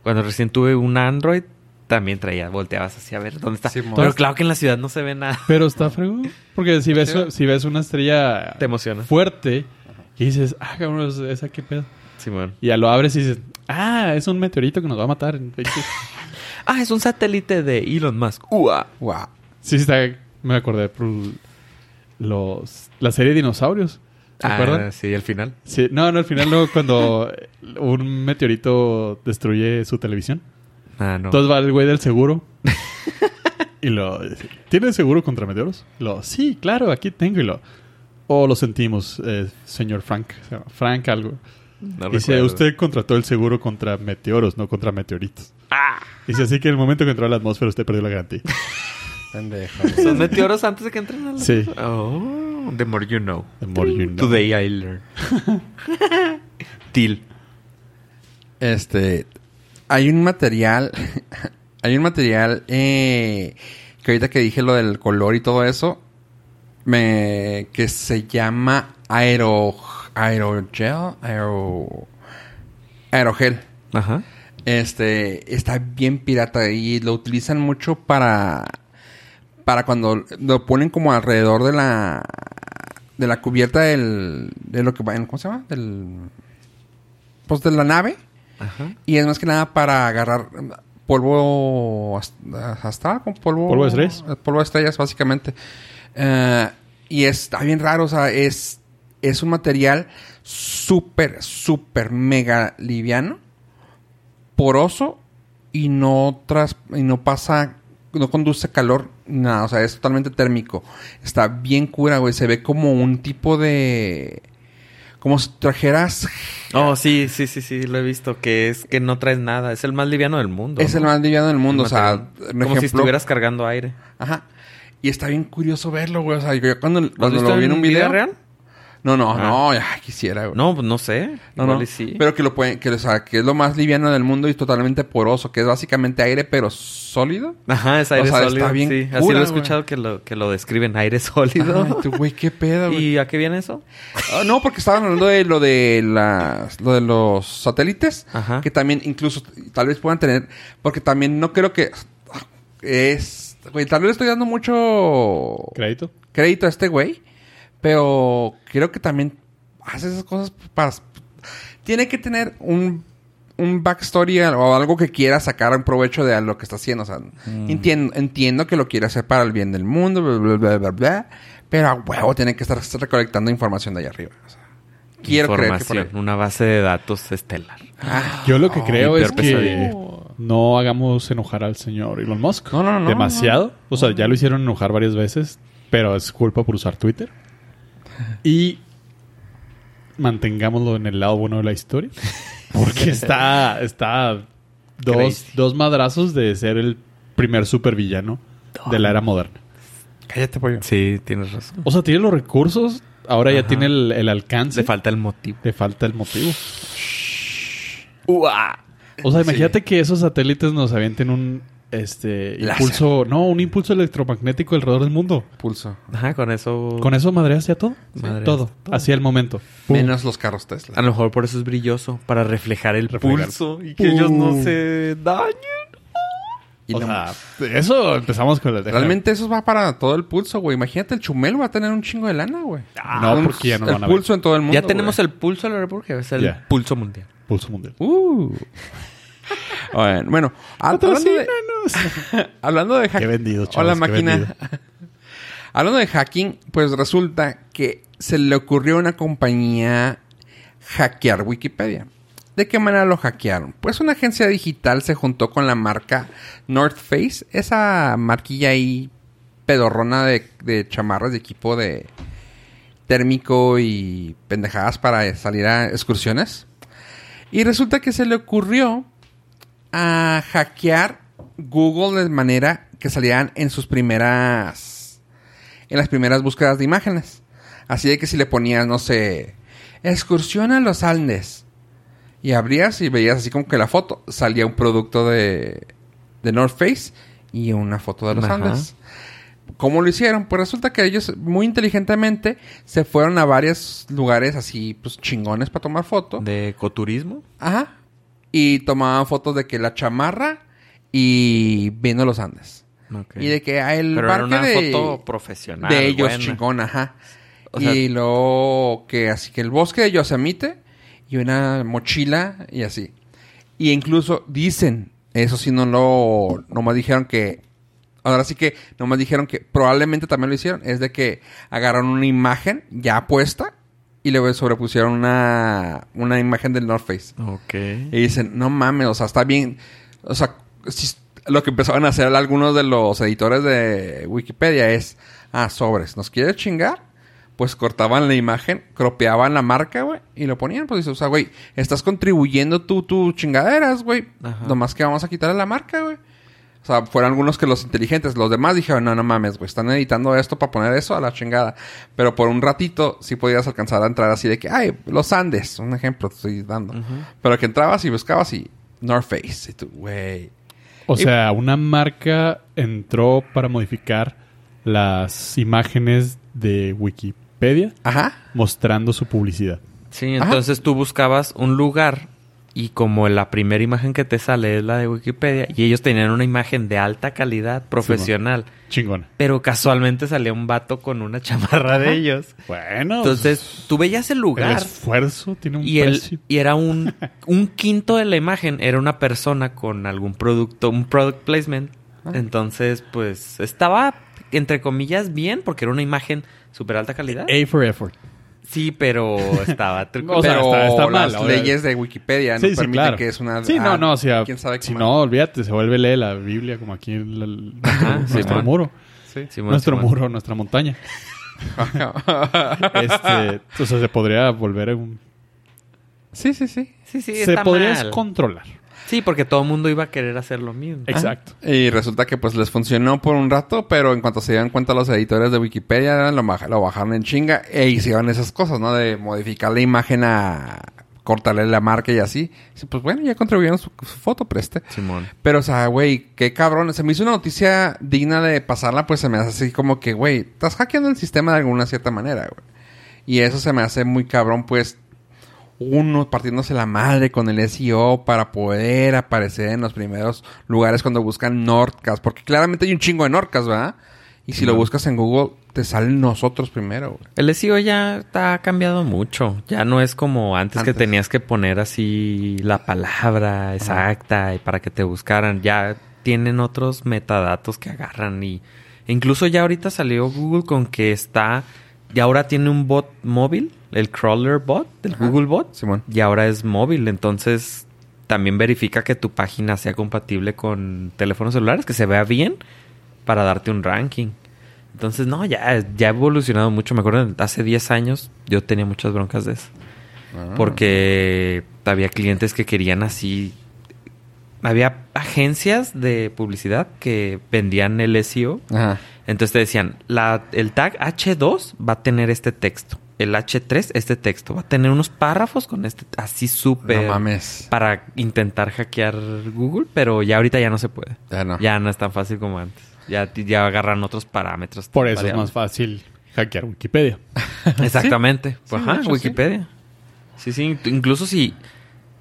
Speaker 3: cuando recién tuve un Android, también traía, volteabas así a ver dónde está.
Speaker 1: Sí, mo-
Speaker 3: Pero claro que en la ciudad no se ve nada.
Speaker 2: Pero está fregón. Porque si ves, si ves una estrella
Speaker 3: Te emociona.
Speaker 2: fuerte y dices, ah, cabrón, es- esa qué pedo.
Speaker 3: Simón.
Speaker 2: Y ya lo abres y dices, ah, es un meteorito que nos va a matar. en 20".
Speaker 3: Ah, es un satélite de Elon Musk. Ua.
Speaker 1: Wow.
Speaker 2: sí, está. Me acordé por los, la serie de dinosaurios. ¿Se
Speaker 3: Ah,
Speaker 2: acuerdan?
Speaker 3: sí, al final.
Speaker 2: Sí, no, no, al final luego cuando un meteorito destruye su televisión.
Speaker 3: Ah, no.
Speaker 2: Entonces va el güey del seguro. y lo dice, ¿Tiene seguro contra meteoros? Lo, sí, claro, aquí tengo y lo. O lo sentimos, eh, señor Frank. se llama Frank algo.
Speaker 3: No
Speaker 2: Dice,
Speaker 3: recuerdo.
Speaker 2: usted contrató el seguro contra meteoros, no contra meteoritos.
Speaker 3: Ah,
Speaker 2: Dice, así que en el momento que entró a la atmósfera usted perdió la garantía.
Speaker 1: Pendejo.
Speaker 3: son meteoros antes de que entren a la-
Speaker 2: Sí.
Speaker 3: Oh. know, the more you know.
Speaker 2: The more you know.
Speaker 3: Today I learn. Till.
Speaker 1: Este, hay un material, hay un material eh, que ahorita que dije lo del color y todo eso, me, que se llama aero, aerogel, aero, aerogel.
Speaker 3: Ajá.
Speaker 1: Este, está bien pirata y lo utilizan mucho para, para cuando lo ponen como alrededor de la, de la cubierta del, de lo que va, en- ¿cómo se llama? Del, pues de la nave.
Speaker 3: Ajá.
Speaker 1: Y es más que nada para agarrar em, polvo ast- astral, con polvo...
Speaker 2: ¿Polvo de estrellas?
Speaker 1: eh, Polvo de estrellas, básicamente. Eh, y está bien raro, o sea, es, es un material súper, súper mega liviano, poroso y no, tras, y no pasa, no conduce calor, nada, o sea, es totalmente térmico. Está bien cura, güey, se ve como un tipo de... Como si trajeras
Speaker 3: Oh, sí, sí, sí, sí, lo he visto. Que es que no traes nada. Es el más liviano del mundo.
Speaker 1: Es
Speaker 3: ¿no?
Speaker 1: el más liviano del mundo,
Speaker 3: El
Speaker 1: o sea,
Speaker 3: material.
Speaker 1: un
Speaker 3: Como si
Speaker 1: ejemplo-
Speaker 3: estuvieras cargando aire.
Speaker 1: Ajá. Y está bien curioso verlo, güey. O sea, yo cuando,
Speaker 3: ¿Lo has
Speaker 1: cuando
Speaker 3: visto
Speaker 1: lo vi en un video.
Speaker 3: real?
Speaker 1: No, no,
Speaker 3: Ah.
Speaker 1: no, ya quisiera, güey.
Speaker 3: No, pues no sé.
Speaker 1: no,
Speaker 3: Igual
Speaker 1: no.
Speaker 3: y sí.
Speaker 1: Pero que lo pueden, que, o sea, que es lo más liviano del mundo y totalmente poroso, que es básicamente aire, pero sólido.
Speaker 3: Ajá, es
Speaker 1: O
Speaker 3: aire
Speaker 1: sea, está
Speaker 3: sólido.
Speaker 1: bien
Speaker 3: sí. Así
Speaker 1: cura,
Speaker 3: lo he
Speaker 1: güey.
Speaker 3: escuchado que lo, que lo describen, aire sólido.
Speaker 1: Ay, tú, güey, qué pedo, güey.
Speaker 3: ¿Y a qué viene eso?
Speaker 1: Ah, no, porque estaban hablando de lo de las, lo de los satélites,
Speaker 3: Ajá.
Speaker 1: que también incluso tal vez puedan tener, porque también no creo que ah, es, güey, tal vez le estoy dando mucho
Speaker 2: ¿Crédito?
Speaker 1: crédito a este güey. Pero creo que también hace esas cosas para... Tiene que tener un, un backstory o algo que quiera sacar un provecho de lo que está haciendo. O sea,
Speaker 2: Mm.
Speaker 1: entiendo, entiendo que lo quiere hacer para el bien del mundo, bla, bla, bla, bla, bla, Pero a huevo tiene que estar recolectando información de allá arriba. O sea, quiero creer que por
Speaker 3: Información,
Speaker 1: ahí.
Speaker 3: una base de datos estelar.
Speaker 2: Yo lo que
Speaker 1: Oh,
Speaker 2: creo
Speaker 3: mi
Speaker 2: es
Speaker 3: peor
Speaker 2: que
Speaker 3: pesadilla.
Speaker 2: no hagamos enojar al señor Elon Musk.
Speaker 1: No, no, no,
Speaker 2: Demasiado. O sea, ya lo hicieron enojar varias veces, pero es culpa por usar Twitter. Y mantengámoslo en el lado bueno de la historia. Porque está, está dos,
Speaker 3: Crazy.
Speaker 2: dos madrazos de ser el primer supervillano de la era moderna.
Speaker 1: Cállate, pollo.
Speaker 3: Sí, tienes razón.
Speaker 2: O sea, tiene los recursos, ahora ya
Speaker 3: Ajá.
Speaker 2: tiene el, el alcance.
Speaker 3: Le falta el motivo.
Speaker 2: Le falta el motivo. O sea, imagínate que esos satélites nos avienten un este
Speaker 1: Láser.
Speaker 2: impulso, no, un impulso electromagnético alrededor del mundo.
Speaker 1: Pulso.
Speaker 3: Ajá, con eso.
Speaker 2: Con eso madreas ya todo,
Speaker 3: Sí. Madreas
Speaker 2: todo,
Speaker 3: todo.
Speaker 2: hacia el momento. Pum.
Speaker 1: Menos los carros
Speaker 2: Ah,
Speaker 3: A
Speaker 1: Tesla.
Speaker 3: lo mejor por eso es brilloso, para reflejar el
Speaker 2: Reflejar.
Speaker 3: pulso y que ellos no
Speaker 1: Uh.
Speaker 3: se dañen.
Speaker 1: Y
Speaker 2: o
Speaker 1: no-
Speaker 2: sea, eso empezamos con la
Speaker 1: Realmente eso va para todo el pulso, güey. Imagínate, el chumel va a tener un chingo de lana, güey.
Speaker 2: no,
Speaker 1: Un-
Speaker 2: Ah, porque ya no
Speaker 1: El
Speaker 2: van a ver.
Speaker 1: pulso en todo el mundo,
Speaker 3: ya tenemos
Speaker 1: güey.
Speaker 3: el pulso de la República, es el
Speaker 2: Ya.
Speaker 3: pulso mundial.
Speaker 2: pulso mundial.
Speaker 1: Uh. Bueno, bueno, a- Ah, hablando de,
Speaker 2: Patrocínanos.
Speaker 1: hablando de
Speaker 2: Qué
Speaker 1: hacking-
Speaker 2: vendido, chavos,
Speaker 1: Hola,
Speaker 2: qué
Speaker 1: máquina.
Speaker 2: vendido.
Speaker 1: hablando de hacking, pues resulta que se le ocurrió a una compañía hackear Wikipedia. ¿De qué manera lo hackearon? Pues una agencia digital se juntó con la marca North Face, esa marquilla ahí pedorrona de, de chamarras de equipo de térmico y pendejadas para salir a excursiones. Y resulta que se le ocurrió a hackear Google de manera que salieran en sus primeras. en las primeras búsquedas de imágenes. Así de que si le ponías, no sé, excursión a los Andes. Y abrías y veías así como que la foto. Salía un producto de, de North Face y una foto de los
Speaker 3: Ajá.
Speaker 1: Andes. ¿Cómo lo hicieron? Pues resulta que ellos muy inteligentemente se fueron a varios lugares así, pues chingones para tomar foto.
Speaker 3: ¿De ecoturismo?
Speaker 1: Ajá. Y tomaban fotos de que la chamarra y viendo los Andes.
Speaker 3: Ok.
Speaker 1: Y de que ah, el
Speaker 3: Pero era
Speaker 1: barque
Speaker 3: una
Speaker 1: de,
Speaker 3: foto profesional.
Speaker 1: de ellos
Speaker 3: buena.
Speaker 1: chingón, ajá.
Speaker 3: O sea-
Speaker 1: y luego que así que el bosque de Yosemite y una mochila y así. Y incluso dicen, eso sí no lo nomás dijeron que ahora sí que nomás dijeron que probablemente también lo hicieron, es de que agarraron una imagen ya puesta y le sobrepusieron una una imagen del North Face.
Speaker 3: Ok.
Speaker 1: Y dicen, no mames, o sea, está bien. O sea, si- lo que empezaban a hacer algunos de los editores de Wikipedia es, ah, sobres, ¿nos quiere chingar? Pues cortaban la imagen, cropeaban la marca, güey, y lo ponían. Pues dice, o sea, güey, estás contribuyendo tú tus chingaderas, güey.
Speaker 3: Ajá.
Speaker 1: Nomás que vamos a quitarle la marca, güey. O sea, fueron algunos que los inteligentes. Los demás dijeron, no, no mames, güey. Están editando esto para poner eso a la chingada. Pero por un ratito sí podías alcanzar a entrar así de que, ay, los Andes. Un ejemplo te estoy dando. Pero que entrabas y buscabas y North Face. Y tú, güey.
Speaker 2: O sea, una marca entró para modificar las imágenes de Wikipedia
Speaker 1: Ajá.
Speaker 2: mostrando su publicidad.
Speaker 3: Sí, entonces tú buscabas un lugar y como la primera imagen que te sale es la de Wikipedia y ellos tenían una imagen de alta calidad profesional,
Speaker 2: Chingona.
Speaker 3: pero casualmente salía un vato con una chamarra de ellos.
Speaker 2: Bueno. pues,
Speaker 3: Entonces tú veías el
Speaker 2: el
Speaker 3: lugar
Speaker 2: esfuerzo tiene un
Speaker 3: y,
Speaker 2: precio.
Speaker 3: el, y era un, un quinto de la imagen, era una persona con algún producto, un product placement.
Speaker 2: Ah.
Speaker 3: Entonces, pues estaba entre comillas bien porque era una imagen súper alta calidad.
Speaker 2: A for effort.
Speaker 3: Sí, pero estaba truco.
Speaker 2: Eh, O sea,
Speaker 1: pero
Speaker 2: está- está mal,
Speaker 1: las
Speaker 2: o sea,
Speaker 1: leyes de Wikipedia no
Speaker 2: sí, sí,
Speaker 1: permiten
Speaker 2: claro.
Speaker 1: que es una...
Speaker 2: sí, no,
Speaker 1: ah,
Speaker 2: no, o sea,
Speaker 1: ¿Quién sabe
Speaker 2: si
Speaker 1: cómo-
Speaker 2: no, olvídate, se vuelve lee la Biblia como aquí en la-
Speaker 3: Ajá,
Speaker 2: nuestro
Speaker 3: Simón.
Speaker 2: muro,
Speaker 3: Simón,
Speaker 2: nuestro
Speaker 3: Simón.
Speaker 2: muro, nuestra montaña. Este, o sea, se podría volver a un
Speaker 1: Sí, sí, sí.
Speaker 3: Sí, sí,
Speaker 2: se
Speaker 3: está
Speaker 2: podría
Speaker 3: mal.
Speaker 2: controlar.
Speaker 3: Sí, porque todo el mundo iba a querer hacer lo mismo.
Speaker 2: Exacto.
Speaker 1: Y resulta que pues les funcionó por un rato, pero en cuanto se dieron cuenta los editores de Wikipedia, lo, baja- lo bajaron en chinga e hicieron esas cosas, ¿no? De modificar la imagen a cortarle la marca y así. Dice, Pues bueno, ya contribuyeron su, su foto, preste.
Speaker 3: Simón.
Speaker 1: Pero, o sea, güey, qué cabrón. Se me hizo una noticia digna de pasarla, pues se me hace así como que, güey, estás hackeando el sistema de alguna cierta manera, güey. Y eso se me hace muy cabrón, pues, uno partiéndose la madre con el SEO para poder aparecer en los primeros lugares cuando buscan Nordcast. Porque claramente hay un chingo de Nordcast, ¿verdad? Y si lo buscas en Google, te salen nosotros primero, güey.
Speaker 3: El SEO ya está- ha cambiado mucho. Ya no es como antes, que
Speaker 1: Antes.
Speaker 3: tenías que poner así la palabra exacta y para que te buscaran. Ya tienen otros metadatos que agarran y incluso ya ahorita salió Google con que está y ahora tiene un bot móvil, el crawler bot, el
Speaker 1: Ajá.
Speaker 3: Google bot,
Speaker 1: Simón.
Speaker 3: y ahora es móvil, entonces también verifica que tu página sea compatible con teléfonos celulares, que se vea bien para darte un ranking. Entonces, no, ya, ya ha evolucionado mucho. Me acuerdo, hace 10 años yo tenía muchas broncas de eso.
Speaker 1: Ah.
Speaker 3: Porque había clientes que querían así. Había agencias de publicidad que vendían el E SEO.
Speaker 1: Ah. Ajá.
Speaker 3: Entonces te decían, la- el tag H2 va a tener este texto. El H3, este texto. Va a tener unos párrafos con este. Así súper.
Speaker 1: No mames.
Speaker 3: Para intentar hackear Google, pero ya ahorita ya no se puede.
Speaker 1: Ya Ah, no.
Speaker 3: Ya no es tan fácil como antes. Ya, ya agarran otros parámetros.
Speaker 2: Por eso es
Speaker 3: variables.
Speaker 2: más fácil hackear Wikipedia.
Speaker 3: Exactamente. Pues,
Speaker 1: Sí,
Speaker 3: ajá,
Speaker 1: de hecho,
Speaker 3: Wikipedia. Sí, sí. tú- Incluso si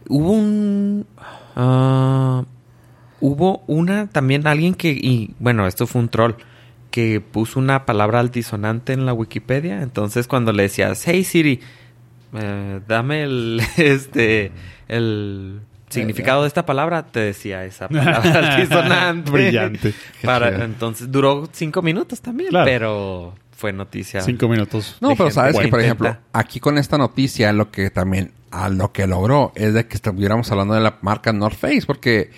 Speaker 3: hubo un... ah, hubo una también alguien que... Y, bueno, esto fue un troll. Que puso una palabra altisonante en la Wikipedia. Entonces cuando le decías, hey Siri, eh, dame el... Este... El... Significado de esta palabra te decía esa palabra altisonante.
Speaker 2: Brillante.
Speaker 3: Para,
Speaker 1: chido.
Speaker 3: entonces duró cinco minutos también,
Speaker 2: Claro.
Speaker 3: pero fue noticia.
Speaker 2: Cinco minutos.
Speaker 1: No,
Speaker 3: de
Speaker 1: pero
Speaker 3: gente
Speaker 1: sabes
Speaker 3: que
Speaker 1: que, por
Speaker 3: intenta.
Speaker 1: ejemplo, aquí con esta noticia, lo que también, a lo que logró es de que estuviéramos hablando de la marca North Face, porque,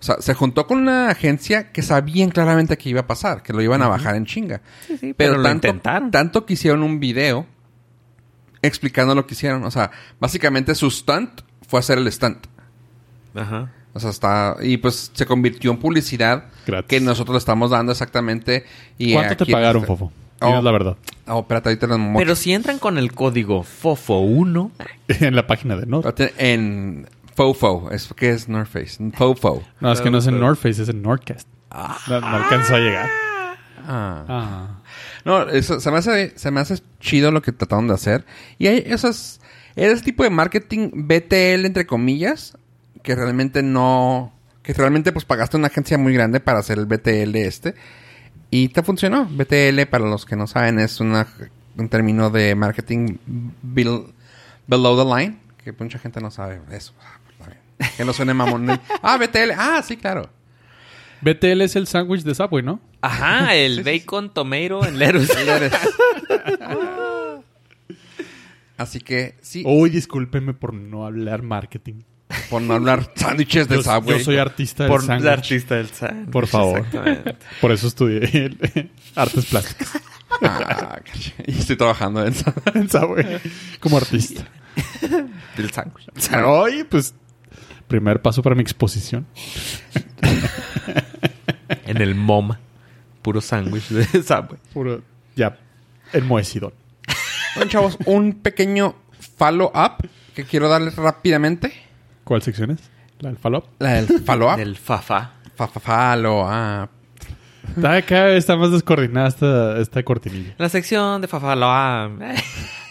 Speaker 1: o sea, se juntó con una agencia que sabían claramente que iba a pasar, que lo iban a bajar en chinga.
Speaker 3: sí,
Speaker 1: pero
Speaker 3: pero lo
Speaker 1: tanto,
Speaker 3: intentaron.
Speaker 1: tanto que hicieron un video explicando lo que hicieron. O sea, básicamente su stunt fue hacer el stunt.
Speaker 3: Ajá.
Speaker 1: O sea, está. Y pues se convirtió en publicidad
Speaker 2: Gratis.
Speaker 1: que nosotros le estamos dando exactamente. Y
Speaker 2: ¿Cuánto te
Speaker 1: aquí-
Speaker 2: pagaron, Fofo?
Speaker 1: Oh.
Speaker 2: Dinos la verdad.
Speaker 1: Oh, espérate, ahorita los mocho.
Speaker 3: Pero si entran con el código FOFO1,
Speaker 2: en la página de North.
Speaker 1: En Fofo, es que es North Face. Fofo.
Speaker 2: No, es que no es
Speaker 1: Ah.
Speaker 2: en North Face, es en Nordcast. No, no alcanzó a llegar. Ah.
Speaker 1: No, eso, se, me hace, se me hace chido lo que trataron de hacer. Y hay esos, ese tipo de marketing BTL, entre comillas, que realmente no... Que realmente pues pagaste una agencia muy grande para hacer el BTL este. Y te funcionó. BTL, para los que no saben, es una, un término de marketing bel- below the line. Que mucha gente no sabe eso. Ah, pues, está bien. Que no suene mamón. ah, BTL. Ah, sí, claro.
Speaker 2: BTL es el sándwich de Subway, ¿no?
Speaker 3: ajá, el bacon tomato en Lerus.
Speaker 1: Así que sí,
Speaker 2: Uy, discúlpeme por no hablar marketing.
Speaker 1: por no hablar sándwiches de
Speaker 2: Yo,
Speaker 1: Subway.
Speaker 2: yo soy artista del
Speaker 3: por el
Speaker 2: sándwich.
Speaker 3: artista del sándwich.
Speaker 2: Por favor.
Speaker 3: Exactamente.
Speaker 2: Por eso estudié el- eh, artes plásticas
Speaker 1: Ah, y estoy trabajando en eso.
Speaker 2: en Subway como artista.
Speaker 3: Del sándwich.
Speaker 2: Oye, pues primer paso para mi exposición.
Speaker 3: en el MOM. Puro sándwich de Subway.
Speaker 2: Puro, ya, enmohecidón.
Speaker 1: Bueno, chavos, un pequeño follow-up que quiero darles rápidamente.
Speaker 2: ¿Cuál sección es? ¿La del falop?
Speaker 1: La del follow-up.
Speaker 3: Del Fafa.
Speaker 1: Fa- fa- ah, Follow-up.
Speaker 2: Está, cada vez está más descoordinada esta, esta cortinilla.
Speaker 3: La sección de Fafa lo ha-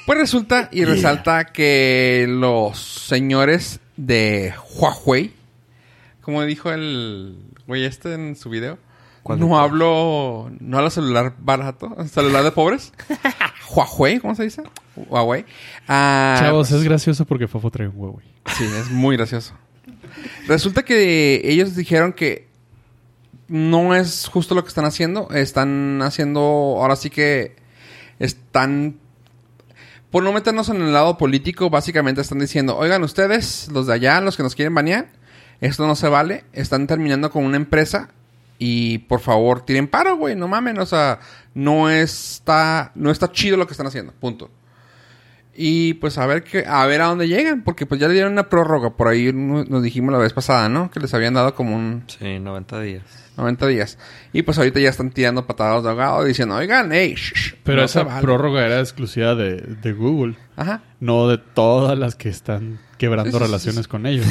Speaker 1: Pues resulta y resalta que los señores de Huawei, como dijo el güey este en su video,
Speaker 3: ¿Cuál de
Speaker 1: no
Speaker 3: todos?
Speaker 1: hablo, no hablo celular barato, celular de pobres. Huawei, ¿cómo se dice? Huawei. Ah,
Speaker 2: Chavos, es gracioso porque Fofo trae un huevo.
Speaker 1: Sí, es muy gracioso. Resulta que ellos dijeron que no es justo lo que están haciendo. Están haciendo, ahora sí que están, por no meternos en el lado político, básicamente están diciendo, oigan ustedes, los de allá, los que nos quieren banear, esto no se vale, están terminando con una empresa y por favor tiren paro, güey, no mamen, o sea, no está, no está chido lo que están haciendo, punto. Y pues a ver que, a ver a dónde llegan, porque pues ya le dieron una prórroga, por ahí no- nos dijimos la vez pasada, ¿no? Que les habían dado como un
Speaker 3: Sí, 90 días.
Speaker 1: 90 días. Y pues ahorita ya están tirando patadas de ahogado diciendo, oigan, hey,
Speaker 2: Pero esa
Speaker 1: prórroga...
Speaker 2: prórroga era exclusiva de, de Google,
Speaker 1: Ajá,
Speaker 2: no de todas las que están quebrando
Speaker 1: Sí, sí, sí,
Speaker 2: relaciones
Speaker 1: sí.
Speaker 2: con ellos.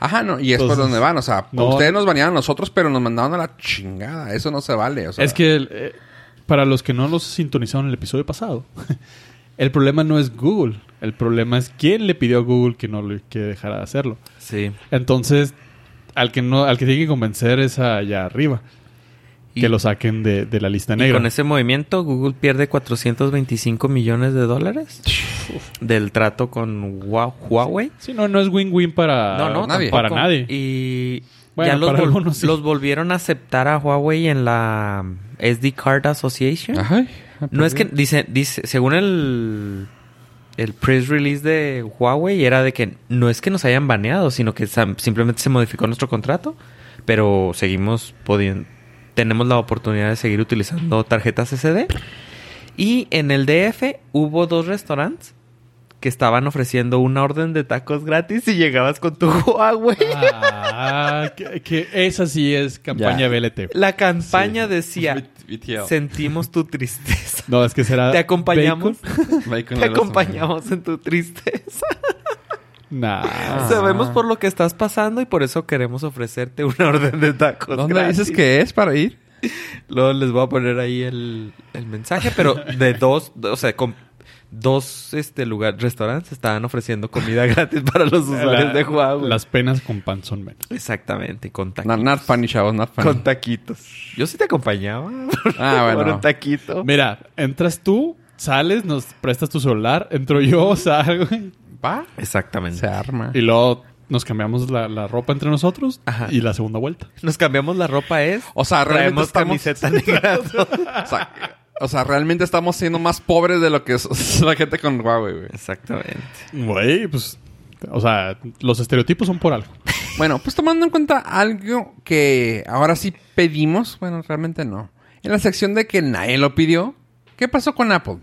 Speaker 1: ajá, no, y es por
Speaker 2: Entonces,
Speaker 1: donde van, o sea,
Speaker 2: Pues, no.
Speaker 1: ustedes nos banearon a nosotros, pero nos mandaron a la chingada, eso no se vale, o sea.
Speaker 2: es que el, eh, para los que no los sintonizaron en el episodio pasado, el problema no es Google, el problema es quién le pidió a Google que no le- que dejara de hacerlo.
Speaker 3: Sí.
Speaker 2: Entonces, al que no, al que tiene que convencer es allá arriba,
Speaker 3: Y-
Speaker 2: que lo saquen de, de la lista
Speaker 3: Y
Speaker 2: negra.
Speaker 3: con ese movimiento, Google pierde 425 millones de dólares del trato con Hua- Huawei.
Speaker 2: Sí, no, no es win-win para,
Speaker 3: No, no,
Speaker 1: nadie.
Speaker 2: para
Speaker 3: Tampoco.
Speaker 2: nadie.
Speaker 3: Y
Speaker 2: Bueno,
Speaker 3: ya los,
Speaker 2: para
Speaker 3: vol-
Speaker 2: algunos sí.
Speaker 3: los volvieron a aceptar a Huawei en la SD Card Association.
Speaker 1: Ajá.
Speaker 3: No es que dice, dice, según el el press release de Huawei era de que no es que nos hayan baneado, sino que sam- simplemente se modificó nuestro contrato, pero seguimos podiendo tenemos la oportunidad de seguir utilizando tarjetas SD. Y en el DF hubo dos restaurantes que estaban ofreciendo una orden de tacos gratis y llegabas con tu Huawei.
Speaker 2: Ah, que, que esa sí es
Speaker 1: Ya.
Speaker 2: campaña BLT.
Speaker 3: La campaña decía,
Speaker 1: BTL.
Speaker 3: sentimos tu tristeza.
Speaker 2: No, es que será.
Speaker 3: Te acompañamos,
Speaker 2: Ah, bacon.
Speaker 1: Bacon
Speaker 3: te
Speaker 1: de los-
Speaker 3: acompañamos en tu tristeza. Ah.
Speaker 2: Nah.
Speaker 3: Sabemos por lo que estás pasando y por eso queremos ofrecerte una orden de tacos.
Speaker 1: ¿Dónde
Speaker 3: gratis.
Speaker 1: dices que es para ir?
Speaker 3: Luego les voy a poner ahí el, el mensaje, pero de dos, o sea, con dos este lugar, restaurantes estaban ofreciendo comida gratis para los usuarios
Speaker 2: La-
Speaker 3: de Huawei.
Speaker 2: Las penas con pan son menos.
Speaker 3: Exactamente, con taquitos.
Speaker 1: Not, not funny, chavos, not funny.
Speaker 3: Con taquitos. Yo sí te acompañaba.
Speaker 1: Ah, bueno.
Speaker 3: Por un taquito.
Speaker 2: Mira, entras tú, sales, nos prestas tu celular, entro yo, salgo
Speaker 1: Va,
Speaker 3: Exactamente.
Speaker 1: se arma.
Speaker 2: y luego nos cambiamos la, la ropa entre nosotros
Speaker 3: Ajá.
Speaker 2: y la segunda vuelta.
Speaker 3: Nos cambiamos la ropa, es.
Speaker 1: O sea, realmente
Speaker 3: traemos
Speaker 1: estamos...
Speaker 3: camiseta negra.
Speaker 1: O sea, o sea, realmente estamos siendo más pobres de lo que es la gente con Huawei, güey.
Speaker 3: Exactamente.
Speaker 2: Güey, pues. O sea, los estereotipos son por algo.
Speaker 1: Bueno, pues tomando en cuenta algo que ahora sí pedimos, bueno, realmente no. En la sección de que nadie lo pidió, ¿qué pasó con Apple?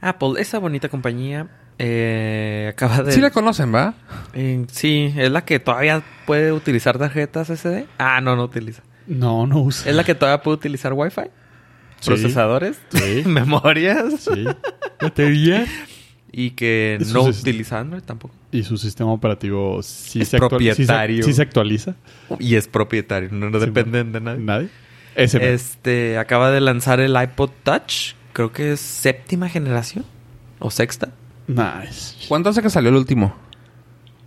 Speaker 3: Apple, esa bonita compañía, eh, acaba de.
Speaker 1: Sí la conocen, ¿va?
Speaker 3: Eh, sí, es la que todavía puede utilizar tarjetas SD. Ah, no, no utiliza.
Speaker 2: No, no usa.
Speaker 3: Es la que todavía puede utilizar Wi-Fi,
Speaker 2: Sí.
Speaker 3: procesadores,
Speaker 2: Sí.
Speaker 3: memorias
Speaker 2: Sí. Batería.
Speaker 3: y que
Speaker 2: Eso
Speaker 3: no
Speaker 2: sí es-
Speaker 3: utiliza Android tampoco.
Speaker 2: Y su sistema operativo sí
Speaker 3: Es
Speaker 2: se actua- sí se-
Speaker 3: propietario.
Speaker 2: Sí se actualiza.
Speaker 3: Y es propietario, no, no
Speaker 2: Sí,
Speaker 3: dependen de nadie.
Speaker 2: Nadie. Ese no.
Speaker 3: Este acaba de lanzar el iPod Touch, creo que es séptima generación o sexta.
Speaker 2: Nice.
Speaker 1: ¿Cuánto hace que salió el último?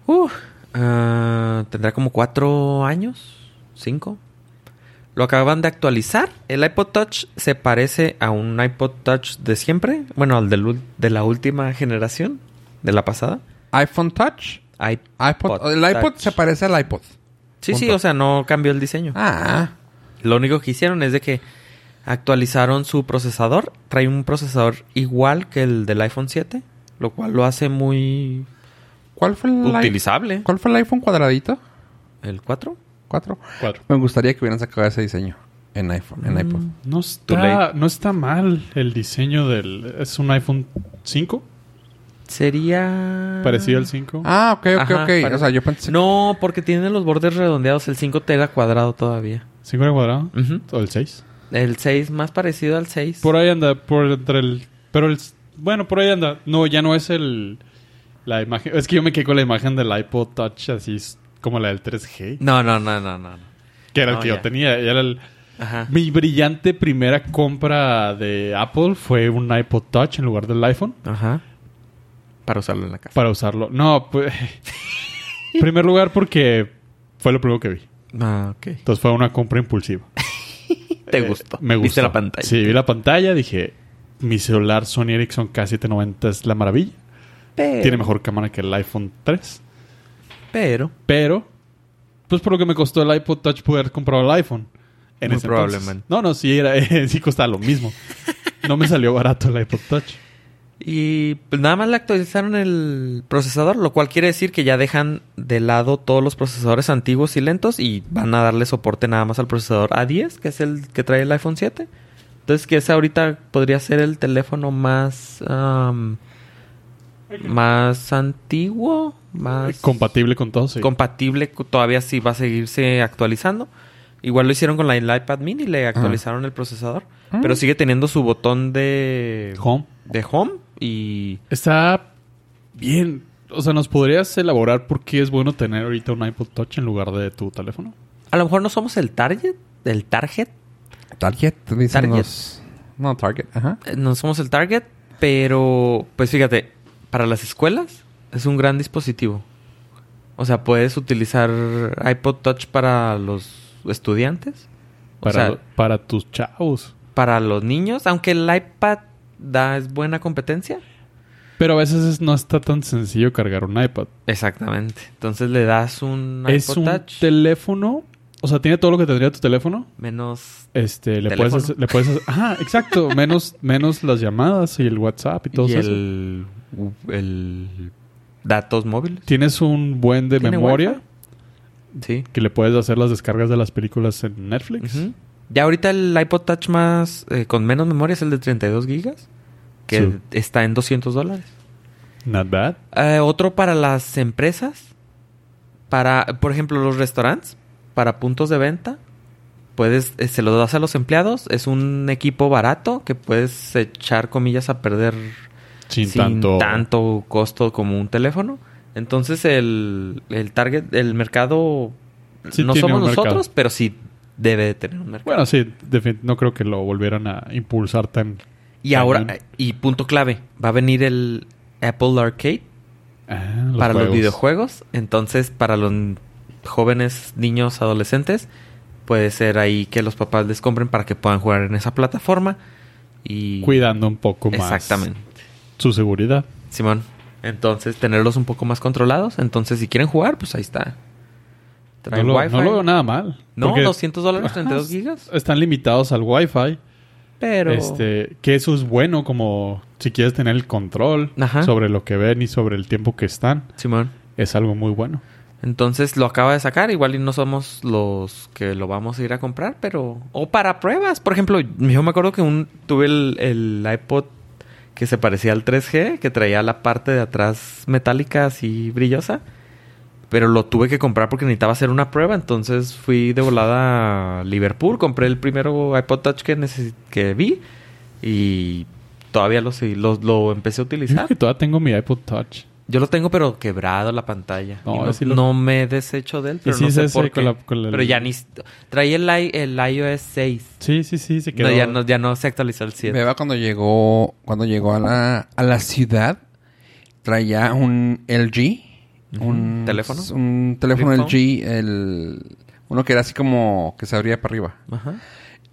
Speaker 3: Uh, ah, tendrá como cuatro años, cinco. Lo acaban de actualizar. El iPod Touch se parece a un iPod Touch de siempre. Bueno, al del ul- de la última generación, de la pasada.
Speaker 1: iPhone Touch.
Speaker 3: iPod.
Speaker 1: iPod. el iPod
Speaker 3: Touch.
Speaker 1: se parece al iPod.
Speaker 3: Sí, sí,
Speaker 1: punto.
Speaker 3: o sea, no cambió el diseño.
Speaker 1: Ah,
Speaker 3: Lo único que hicieron es de que actualizaron su procesador. Trae un procesador igual que el del iPhone 7, lo cual lo hace muy
Speaker 1: ¿cuál fue el, i-
Speaker 3: utilizable.
Speaker 1: ¿cuál fue el iPhone cuadradito?
Speaker 3: ¿El 4?
Speaker 1: ¿Cuatro?
Speaker 2: Cuatro.
Speaker 1: Me gustaría que hubieran sacado ese diseño en iPhone,
Speaker 3: Mm.
Speaker 1: en iPod.
Speaker 2: No
Speaker 3: Too
Speaker 2: está, no está mal el diseño del... Es un iPhone 5.
Speaker 3: Sería.
Speaker 2: Parecido al 5.
Speaker 1: Ah, ok, ok,
Speaker 3: Ajá,
Speaker 1: ok.
Speaker 3: pare-
Speaker 1: O sea, yo pensé...
Speaker 3: No, porque tiene los bordes redondeados. El 5 te era cuadrado todavía.
Speaker 2: ¿5 al cuadrado?
Speaker 3: Ujú.
Speaker 2: ¿O el 6?
Speaker 3: El 6 más parecido al 6.
Speaker 2: Por ahí anda, por entre el... Pero el... Bueno, por ahí anda. No, ya no es el... La imagen... Es que yo me quedé con la imagen del iPod Touch así es como la del 3G.
Speaker 3: No, no, no, no, no. no.
Speaker 2: Que era el
Speaker 3: No,
Speaker 2: que yo
Speaker 3: ya.
Speaker 2: tenía. Era el...
Speaker 3: Ajá.
Speaker 2: Mi brillante primera compra de Apple fue un iPod Touch en lugar del iPhone
Speaker 3: Ajá. Para usarlo en la casa.
Speaker 2: para usarlo. No, pues... en primer lugar porque fue lo primero que vi.
Speaker 3: Ah, ok.
Speaker 2: Entonces fue una compra impulsiva.
Speaker 3: Te
Speaker 2: Eh,
Speaker 3: gustó.
Speaker 2: me gustó.
Speaker 3: Viste la pantalla.
Speaker 2: Sí, vi la pantalla. Dije, mi celular Sony Ericsson K790 es la maravilla.
Speaker 3: Pero,
Speaker 2: Tiene mejor cámara que el iPhone 3.
Speaker 3: Pero.
Speaker 2: Pero, pues por lo que me costó el iPod Touch poder comprar el iPhone. En
Speaker 3: Muy
Speaker 2: ese entonces.
Speaker 3: probablemente.
Speaker 2: No, no, sí, era, sí costaba lo mismo. No me salió barato el iPod Touch.
Speaker 3: Y pues nada más le actualizaron el procesador, lo cual quiere decir que ya dejan de lado todos los procesadores antiguos y lentos y van a darle soporte nada más al procesador A10, que es el que trae el iPhone 7. Entonces que ese ahorita podría ser el teléfono más... am, más antiguo, más...
Speaker 2: Compatible con todo, sí.
Speaker 3: compatible cu- todavía sí va a seguirse actualizando. Igual lo hicieron con la el iPad mini, le actualizaron el procesador, pero sigue teniendo su botón de
Speaker 2: Ah. Home.
Speaker 3: de home y
Speaker 2: Está bien. O sea, ¿nos podrías elaborar por qué es bueno tener ahorita un iPod Touch en lugar de tu teléfono?
Speaker 3: a lo mejor no somos el target, el target,
Speaker 1: Target, dicen
Speaker 3: Target.
Speaker 1: los... No, Target, ajá.
Speaker 3: eh, no somos el target, pero pues fíjate, para las escuelas es un gran dispositivo. O sea, puedes utilizar iPod Touch para los estudiantes, O
Speaker 2: Para,
Speaker 3: sea-
Speaker 2: lo- para tus chavos.
Speaker 3: para los niños, aunque el iPad da es buena competencia.
Speaker 2: Pero a veces es- no está tan sencillo cargar un iPad.
Speaker 3: Exactamente. Entonces le das un iPod
Speaker 2: es un
Speaker 3: Touch
Speaker 2: teléfono. O sea, tiene todo lo que tendría tu teléfono.
Speaker 3: menos
Speaker 2: Este, le
Speaker 3: Teléfono.
Speaker 2: puedes, hacer- le puedes hacer- Ajá, exacto. menos, menos las llamadas y el WhatsApp y todo
Speaker 3: y
Speaker 2: eso.
Speaker 3: el, el datos móviles.
Speaker 2: Tienes un buen de
Speaker 3: ¿Tiene
Speaker 2: memoria
Speaker 3: Sí.
Speaker 2: que le puedes hacer las descargas de las películas en Netflix.
Speaker 3: Ujú. Ya ahorita el iPod Touch más eh, con menos memoria es el de 32 gigas, que
Speaker 2: Sí.
Speaker 3: está en 200 dólares.
Speaker 2: Not bad.
Speaker 3: Eh, otro para las empresas, para, por ejemplo, los restaurantes, para puntos de venta. Puedes, eh, se lo das a los empleados, es un equipo barato que puedes echar comillas a perder
Speaker 2: Sin,
Speaker 3: sin
Speaker 2: tanto.
Speaker 3: tanto... costo como un teléfono. Entonces el, el target, el mercado,
Speaker 2: Sí
Speaker 3: no
Speaker 2: tiene
Speaker 3: somos
Speaker 2: un mercado.
Speaker 3: nosotros, pero sí debe de tener un mercado.
Speaker 2: Bueno, sí, defin- no creo que lo volvieran a impulsar tan.
Speaker 3: y ahora,
Speaker 2: cañón.
Speaker 3: y punto clave, va a venir el Apple Arcade
Speaker 2: Ah,
Speaker 3: para los
Speaker 2: juegos.
Speaker 3: videojuegos. Entonces para los n- jóvenes, niños, adolescentes, puede ser ahí que los papás les compren para que puedan jugar en esa plataforma. Y
Speaker 2: Cuidando un poco más.
Speaker 3: Exactamente.
Speaker 2: Su seguridad.
Speaker 3: Simón. Entonces, tenerlos un poco más controlados. Entonces, si quieren jugar, pues ahí está. Trae
Speaker 2: No lo,
Speaker 3: Wi-Fi.
Speaker 2: no lo veo nada mal.
Speaker 3: No,
Speaker 2: Porque-
Speaker 3: 200 dólares,
Speaker 2: Ajá,
Speaker 3: 32 gigas.
Speaker 2: Están limitados al Wi-Fi.
Speaker 3: Pero.
Speaker 2: Este, que eso es bueno como si quieres tener el control
Speaker 3: Ajá.
Speaker 2: sobre lo que ven y sobre el tiempo que están.
Speaker 3: Simón.
Speaker 2: Es algo muy bueno.
Speaker 3: Entonces lo acaba de sacar. Igual y no somos los que lo vamos a ir a comprar, pero. O para pruebas. Por ejemplo, yo me acuerdo que un tuve el, el iPod que se parecía al 3G, que traía la parte de atrás metálica así brillosa. Pero lo tuve que comprar porque necesitaba hacer una prueba. Entonces fui de volada a Liverpool. Compré el primero iPod Touch que, necesi- que vi. Y todavía lo, seguí- lo, lo empecé a
Speaker 2: Yo
Speaker 3: utilizar.
Speaker 2: que todavía tengo mi iPod Touch.
Speaker 3: Yo lo tengo, pero quebrado la pantalla.
Speaker 2: No,
Speaker 3: Y no,
Speaker 2: sí lo-
Speaker 3: no me he deshecho de él, pero
Speaker 2: sí
Speaker 3: no
Speaker 2: es
Speaker 3: sé
Speaker 2: ese
Speaker 3: por
Speaker 2: con
Speaker 3: qué.
Speaker 2: la- con la-
Speaker 3: Pero ya ni... Traía el, i- el iOS 6.
Speaker 2: Sí, sí, sí, se
Speaker 3: No,
Speaker 2: quedó.
Speaker 3: ya, no, ya no se actualizó el
Speaker 1: Me
Speaker 3: 7.
Speaker 1: Beba cuando llegó, cuando llegó a la, a la ciudad, traía un LG, un
Speaker 3: ¿Teléfono?
Speaker 1: un teléfono
Speaker 3: ¿Flip
Speaker 1: LG, el uno que era así como que se abría para arriba.
Speaker 3: Ajá.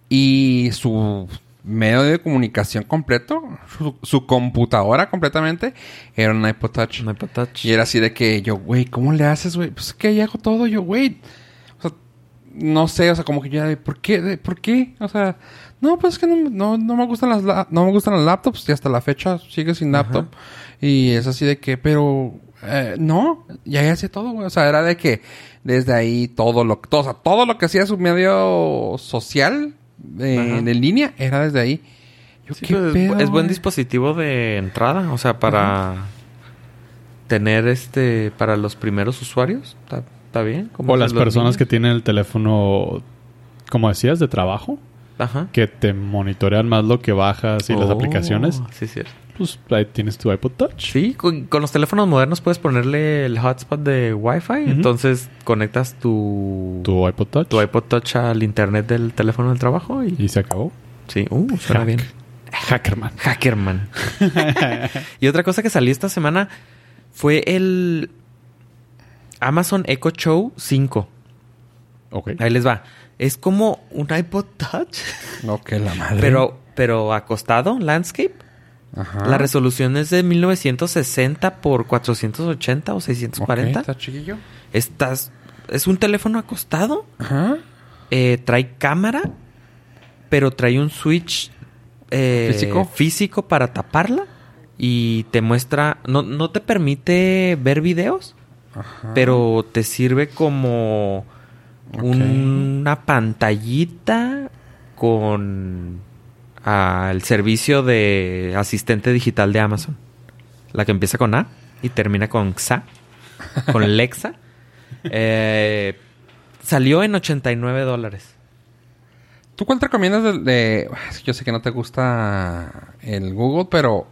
Speaker 1: Y su medio de comunicación completo, su, su computadora completamente, era un iPod Touch.
Speaker 3: No hay patach.
Speaker 1: Y era así de que yo, güey, ¿cómo le haces, güey? Pues que ahí hago todo yo, güey. O sea, no sé, o sea, como que yo era de, ¿por qué? De, ¿Por qué? O sea, no, pues es que no, no, no me gustan las la- no me gustan las laptops y hasta la fecha sigue sin laptop. Y es así de que, pero eh, no, ya ahí hacía todo, güey. O sea, era de que desde ahí todo lo todo, o sea, todo lo que hacía su medio social eh,
Speaker 3: Ajá.
Speaker 1: en línea era desde ahí. Yo,
Speaker 3: Sí,
Speaker 1: ¿qué
Speaker 3: pues, es-
Speaker 1: pedo,
Speaker 3: es buen
Speaker 1: güey?
Speaker 3: dispositivo de entrada. O sea, para... tener este para los primeros usuarios. ¿Está, está bien? como
Speaker 2: O las personas que tienen el teléfono, como decías, de trabajo,
Speaker 3: Ajá.
Speaker 2: que te monitorean más lo que bajas y las
Speaker 3: Oh,
Speaker 2: aplicaciones.
Speaker 3: Sí, cierto.
Speaker 2: Pues ahí tienes tu iPod Touch.
Speaker 3: Sí, con, con los teléfonos modernos puedes ponerle el hotspot de Wi-Fi. Entonces conectas tu, tu,
Speaker 2: Tu iPod Touch.
Speaker 3: iPod Touch al internet del teléfono del trabajo y.
Speaker 2: Y se acabó.
Speaker 3: Sí, uh, suena
Speaker 2: Hack.
Speaker 3: bien.
Speaker 2: Hackerman.
Speaker 3: Hackerman. y otra cosa que salió esta semana fue el Amazon Echo Show 5.
Speaker 2: Ok.
Speaker 3: Ahí les va. Es como un iPod Touch,
Speaker 1: No, que la madre.
Speaker 3: pero, pero acostado, landscape.
Speaker 1: Ajá.
Speaker 3: La resolución es de 1960 por 480 o
Speaker 1: Ok,
Speaker 3: 640.
Speaker 1: ¿Está chiquillo?
Speaker 3: Estás. Es un teléfono acostado.
Speaker 1: Ajá.
Speaker 3: eh, trae cámara. Pero trae un switch eh,
Speaker 1: ¿Físico?
Speaker 3: físico para taparla. Y te muestra. No, no te permite ver videos.
Speaker 1: Ajá.
Speaker 3: Pero te sirve como
Speaker 1: Ah. Ok.
Speaker 3: una pantallita con ah, el servicio de asistente digital de Amazon. La que empieza con A y termina con XA, con Lexa. Eh, salió en 89 dólares.
Speaker 1: ¿Tú cuál te recomiendas de, de- ah, es que Yo sé que no te gusta el Google, pero...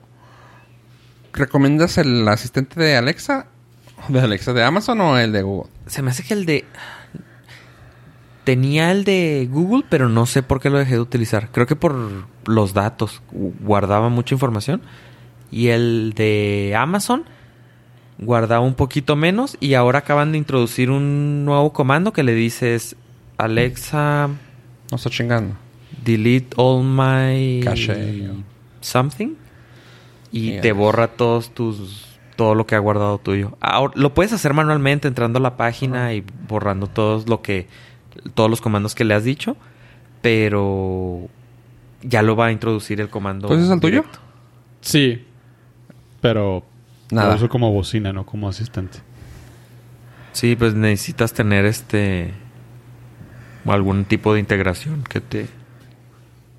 Speaker 1: ¿Recomiendas el asistente de Alexa? ¿De Alexa de Amazon o el de Google?
Speaker 3: Se me hace que el de... Tenía el de Google, pero no sé por qué lo dejé de utilizar. Creo que por los datos. gu- Guardaba mucha información. Y el de Amazon guardaba un poquito menos. Y ahora acaban de introducir un nuevo comando que le dices... Alexa,
Speaker 1: No estoy chingando.
Speaker 3: delete all my...
Speaker 1: Caché.
Speaker 3: Something. Y
Speaker 1: Yeah.
Speaker 3: te borra todos tus... Todo lo que ha guardado tuyo. Ahora, lo puedes hacer manualmente entrando a la página y borrando todos lo que... Todos los comandos que le has dicho. Pero... Ya lo va a introducir el comando.
Speaker 1: ¿Entonces ¿Pues es el tuyo?
Speaker 3: directo.
Speaker 2: Sí. Pero
Speaker 1: Nada.
Speaker 2: lo uso como bocina, no como asistente.
Speaker 3: Sí, pues necesitas tener este... Algún tipo de integración que te...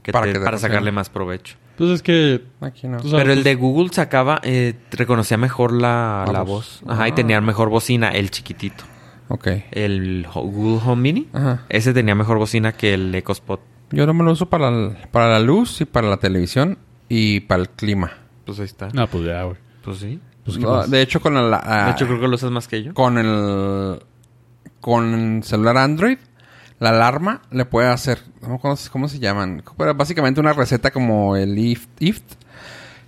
Speaker 3: que
Speaker 1: Para
Speaker 3: te-
Speaker 1: que te
Speaker 3: para
Speaker 1: funcione.
Speaker 3: sacarle más provecho.
Speaker 2: Pues es que...
Speaker 1: Aquí no.
Speaker 2: tú sabes,
Speaker 3: Pero el
Speaker 2: pues,
Speaker 3: de Google sacaba, eh, reconocía mejor la,
Speaker 1: La
Speaker 3: la
Speaker 1: voz.
Speaker 3: voz. Ajá, y
Speaker 1: Ah.
Speaker 3: tenía mejor bocina, el chiquitito.
Speaker 1: Ok.
Speaker 3: El Ho- Google Home Mini.
Speaker 1: Ajá.
Speaker 3: Ese tenía mejor bocina que el EcoSpot.
Speaker 1: Yo no me lo uso para, el- para la luz y para la televisión y para el clima.
Speaker 3: Pues ahí está.
Speaker 2: No, pues ya, güey.
Speaker 3: Pues sí.
Speaker 2: Pues, ¿qué
Speaker 1: No,
Speaker 2: más?
Speaker 1: de hecho, con la- la-
Speaker 3: De hecho, creo que lo usas más que yo.
Speaker 1: con el con el celular Android, la alarma le puede hacer, no me acuerdo cómo se llaman, pero básicamente una receta como el if, if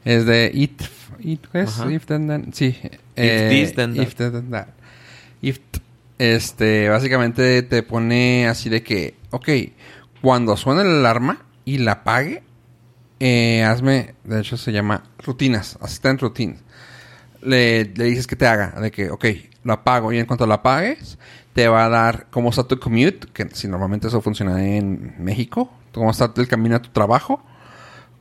Speaker 1: es de it, it ¿qué es?
Speaker 3: Ajá.
Speaker 1: if then, then, sí, eh,
Speaker 3: this, then that.
Speaker 1: if then that. If, este, básicamente te pone así de que, ok, cuando suene la alarma y la apague, eh, hazme, de hecho se llama rutinas, asistente routines. Le, le dices que te haga, de que, ok, lo apago y en cuanto lo apagues, te va a dar cómo está tu commute, que si normalmente eso funciona en México, cómo está el camino a tu trabajo,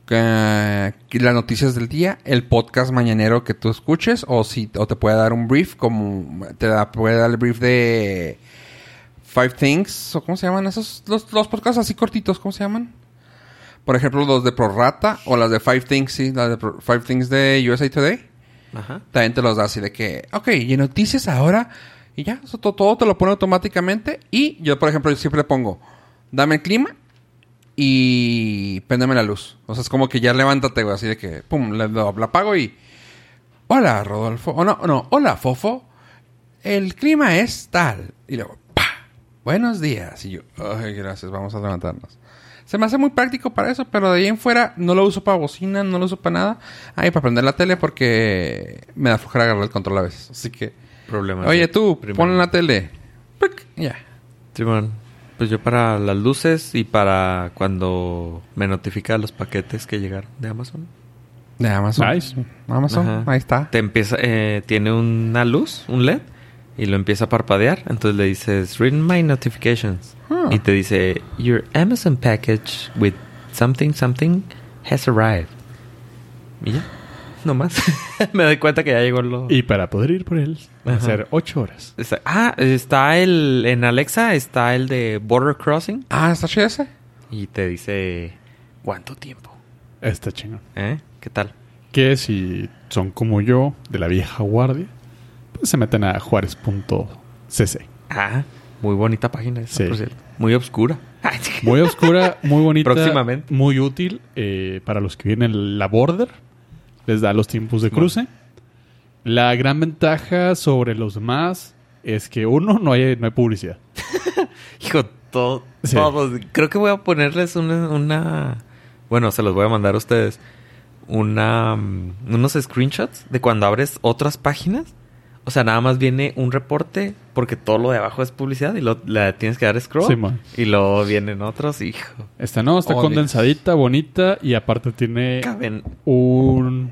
Speaker 1: que- que las noticias del día, el podcast mañanero que tú escuches, o si o te puede dar un brief, como te da- puede dar el brief de Five Things, o cómo se llaman esos, los, los podcasts así cortitos, ¿cómo se llaman? Por ejemplo, los de Prorata o las de Five Things, sí, las de Pro- Five Things de USA Today.
Speaker 3: Ajá.
Speaker 1: También te los da así de que, ok, y en noticias ahora, y ya, eso to- todo te lo pone automáticamente. Y yo, por ejemplo, yo siempre le pongo, dame el clima y préndeme la luz. O sea, es como que ya levántate, güey, así de que, pum, le- lo- la apago y, hola, Rodolfo, o no, no, hola, Fofo, el clima es tal. Y luego, pa, buenos días. Y yo, ay, gracias, vamos a levantarnos. Se me hace muy práctico para eso, pero de ahí en fuera no lo uso para bocina, no lo uso para nada. Ay, para prender la tele porque me da flojera agarrar el control a veces. Así que,
Speaker 3: Problemas.
Speaker 1: oye
Speaker 3: de
Speaker 1: tú,
Speaker 3: primero.
Speaker 1: pon la tele. Plic, y Ya.
Speaker 3: Simón, pues yo para las luces y para cuando me notifica los paquetes que llegaron de Amazon.
Speaker 1: De Amazon.
Speaker 2: Nice.
Speaker 1: Amazon,
Speaker 3: Ajá.
Speaker 1: ahí está.
Speaker 3: Te empieza, eh, tiene una luz, un LED, y lo empieza a parpadear. Entonces le dices, read my notifications.
Speaker 1: Ah.
Speaker 3: Y te dice, your Amazon package with something, something has arrived. Y ya, nomás. Me doy cuenta que ya llegó lo...
Speaker 2: Y para poder ir por él, va a
Speaker 3: Ajá.
Speaker 2: ser ocho horas.
Speaker 3: Está- ah, está el... En Alexa está el de Border Crossing.
Speaker 1: Ah, está chido ese.
Speaker 3: Y te dice, ¿cuánto tiempo?
Speaker 2: Está chingón.
Speaker 3: ¿Eh? ¿Qué tal?
Speaker 2: Que si son como yo, de la vieja guardia, pues se meten a juárez.cc.
Speaker 3: Ah, muy bonita página esa,
Speaker 2: Sí.
Speaker 3: por cierto. Muy obscura. Ay, sí.
Speaker 2: Muy oscura, muy bonita.
Speaker 3: Próximamente.
Speaker 2: Muy útil eh, para los que vienen la border. Les da los tiempos de cruce. La gran ventaja sobre los demás es que uno, no hay, no hay publicidad.
Speaker 3: Hijo, todo,
Speaker 2: Sí.
Speaker 3: todos. Creo que voy a ponerles una, una- Bueno, se los voy a mandar a ustedes. Una, mm, unos screenshots de cuando abres otras páginas. O sea, nada más viene un reporte porque todo lo de abajo es publicidad y lo, la tienes que dar scroll.
Speaker 2: Sí, man.
Speaker 3: y luego vienen otros, hijo.
Speaker 2: Esta no, está
Speaker 1: Oh,
Speaker 2: condensadita, bonita y aparte tiene
Speaker 3: Caben
Speaker 2: un...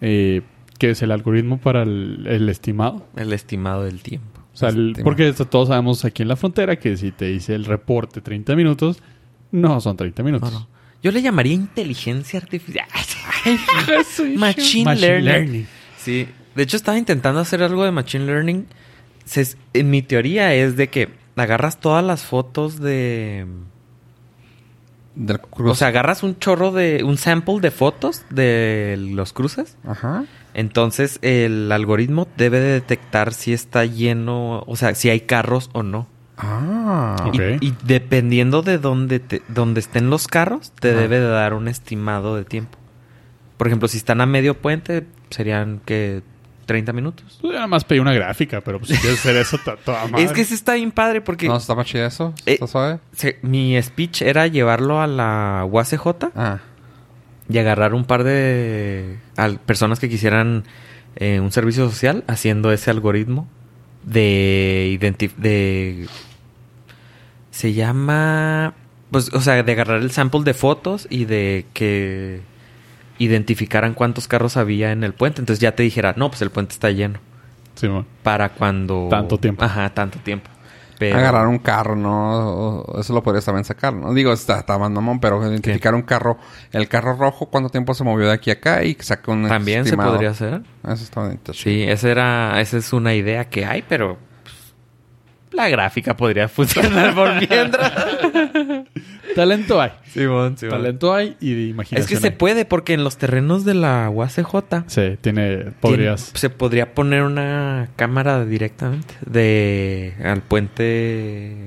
Speaker 2: eh, que es el algoritmo para el, el estimado.
Speaker 3: el estimado del tiempo.
Speaker 2: O sea, el-
Speaker 1: Estimado.
Speaker 2: porque esto todos sabemos aquí en la frontera que si te dice el reporte 30 minutos, no son 30 minutos.
Speaker 3: No, no. Yo le llamaría inteligencia artificial. Machine,
Speaker 2: Machine
Speaker 3: learning.
Speaker 2: learning.
Speaker 3: Sí. De hecho, estaba intentando hacer algo de Machine Learning. Se- en mi teoría es de que agarras todas las fotos de...
Speaker 1: Del cruce.
Speaker 3: O sea, agarras un chorro de... Un sample de fotos de los cruces.
Speaker 1: Ajá.
Speaker 3: Entonces, el algoritmo debe de detectar si está lleno... O sea, si hay carros o no.
Speaker 1: Ah.
Speaker 2: Ok.
Speaker 3: Y- Y, dependiendo de dónde, te- dónde estén los carros, te
Speaker 1: Ajá.
Speaker 3: debe de dar un estimado de tiempo. Por ejemplo, si están a medio puente, serían que 30 minutos.
Speaker 2: Pues yo nada más pedí una gráfica, pero pues si quieres hacer eso, to- toda madre.
Speaker 3: Es que sí está bien padre porque
Speaker 1: No, está más chido eso.
Speaker 3: Eh.
Speaker 1: ¿Está suave?
Speaker 3: se- mi speech era llevarlo a la UACJ
Speaker 1: Ah.
Speaker 3: y agarrar un par de al- personas que quisieran eh, un servicio social haciendo ese algoritmo de identif- de se llama pues o sea de agarrar el sample de fotos y de que identificaran cuántos carros había en el puente entonces ya te dijera no pues el puente está lleno
Speaker 2: Simón.
Speaker 3: para cuando
Speaker 2: Tanto tiempo.
Speaker 3: ajá tanto tiempo Pero-
Speaker 1: Agarrar un carro, ¿no? O- Eso lo podrías también sacar, ¿no? Digo, está, está más mamón, pero identificar un carro, el carro rojo, cuánto tiempo se movió de aquí a acá y saca un
Speaker 3: también
Speaker 1: estimado.
Speaker 3: se podría hacer
Speaker 1: Eso está bonito.
Speaker 3: Sí, esa era, esa es una idea que hay, pero pues, la gráfica podría funcionar por mientras.
Speaker 2: Talento hay.
Speaker 3: Simón, Simón.
Speaker 2: Talento hay y de
Speaker 3: Es
Speaker 2: imaginación.
Speaker 3: que se
Speaker 2: hay.
Speaker 3: puede porque en los terrenos de la UACJ
Speaker 2: Sí, tiene.
Speaker 3: tiene-
Speaker 2: Podrías.
Speaker 3: se podría poner una cámara directamente de al puente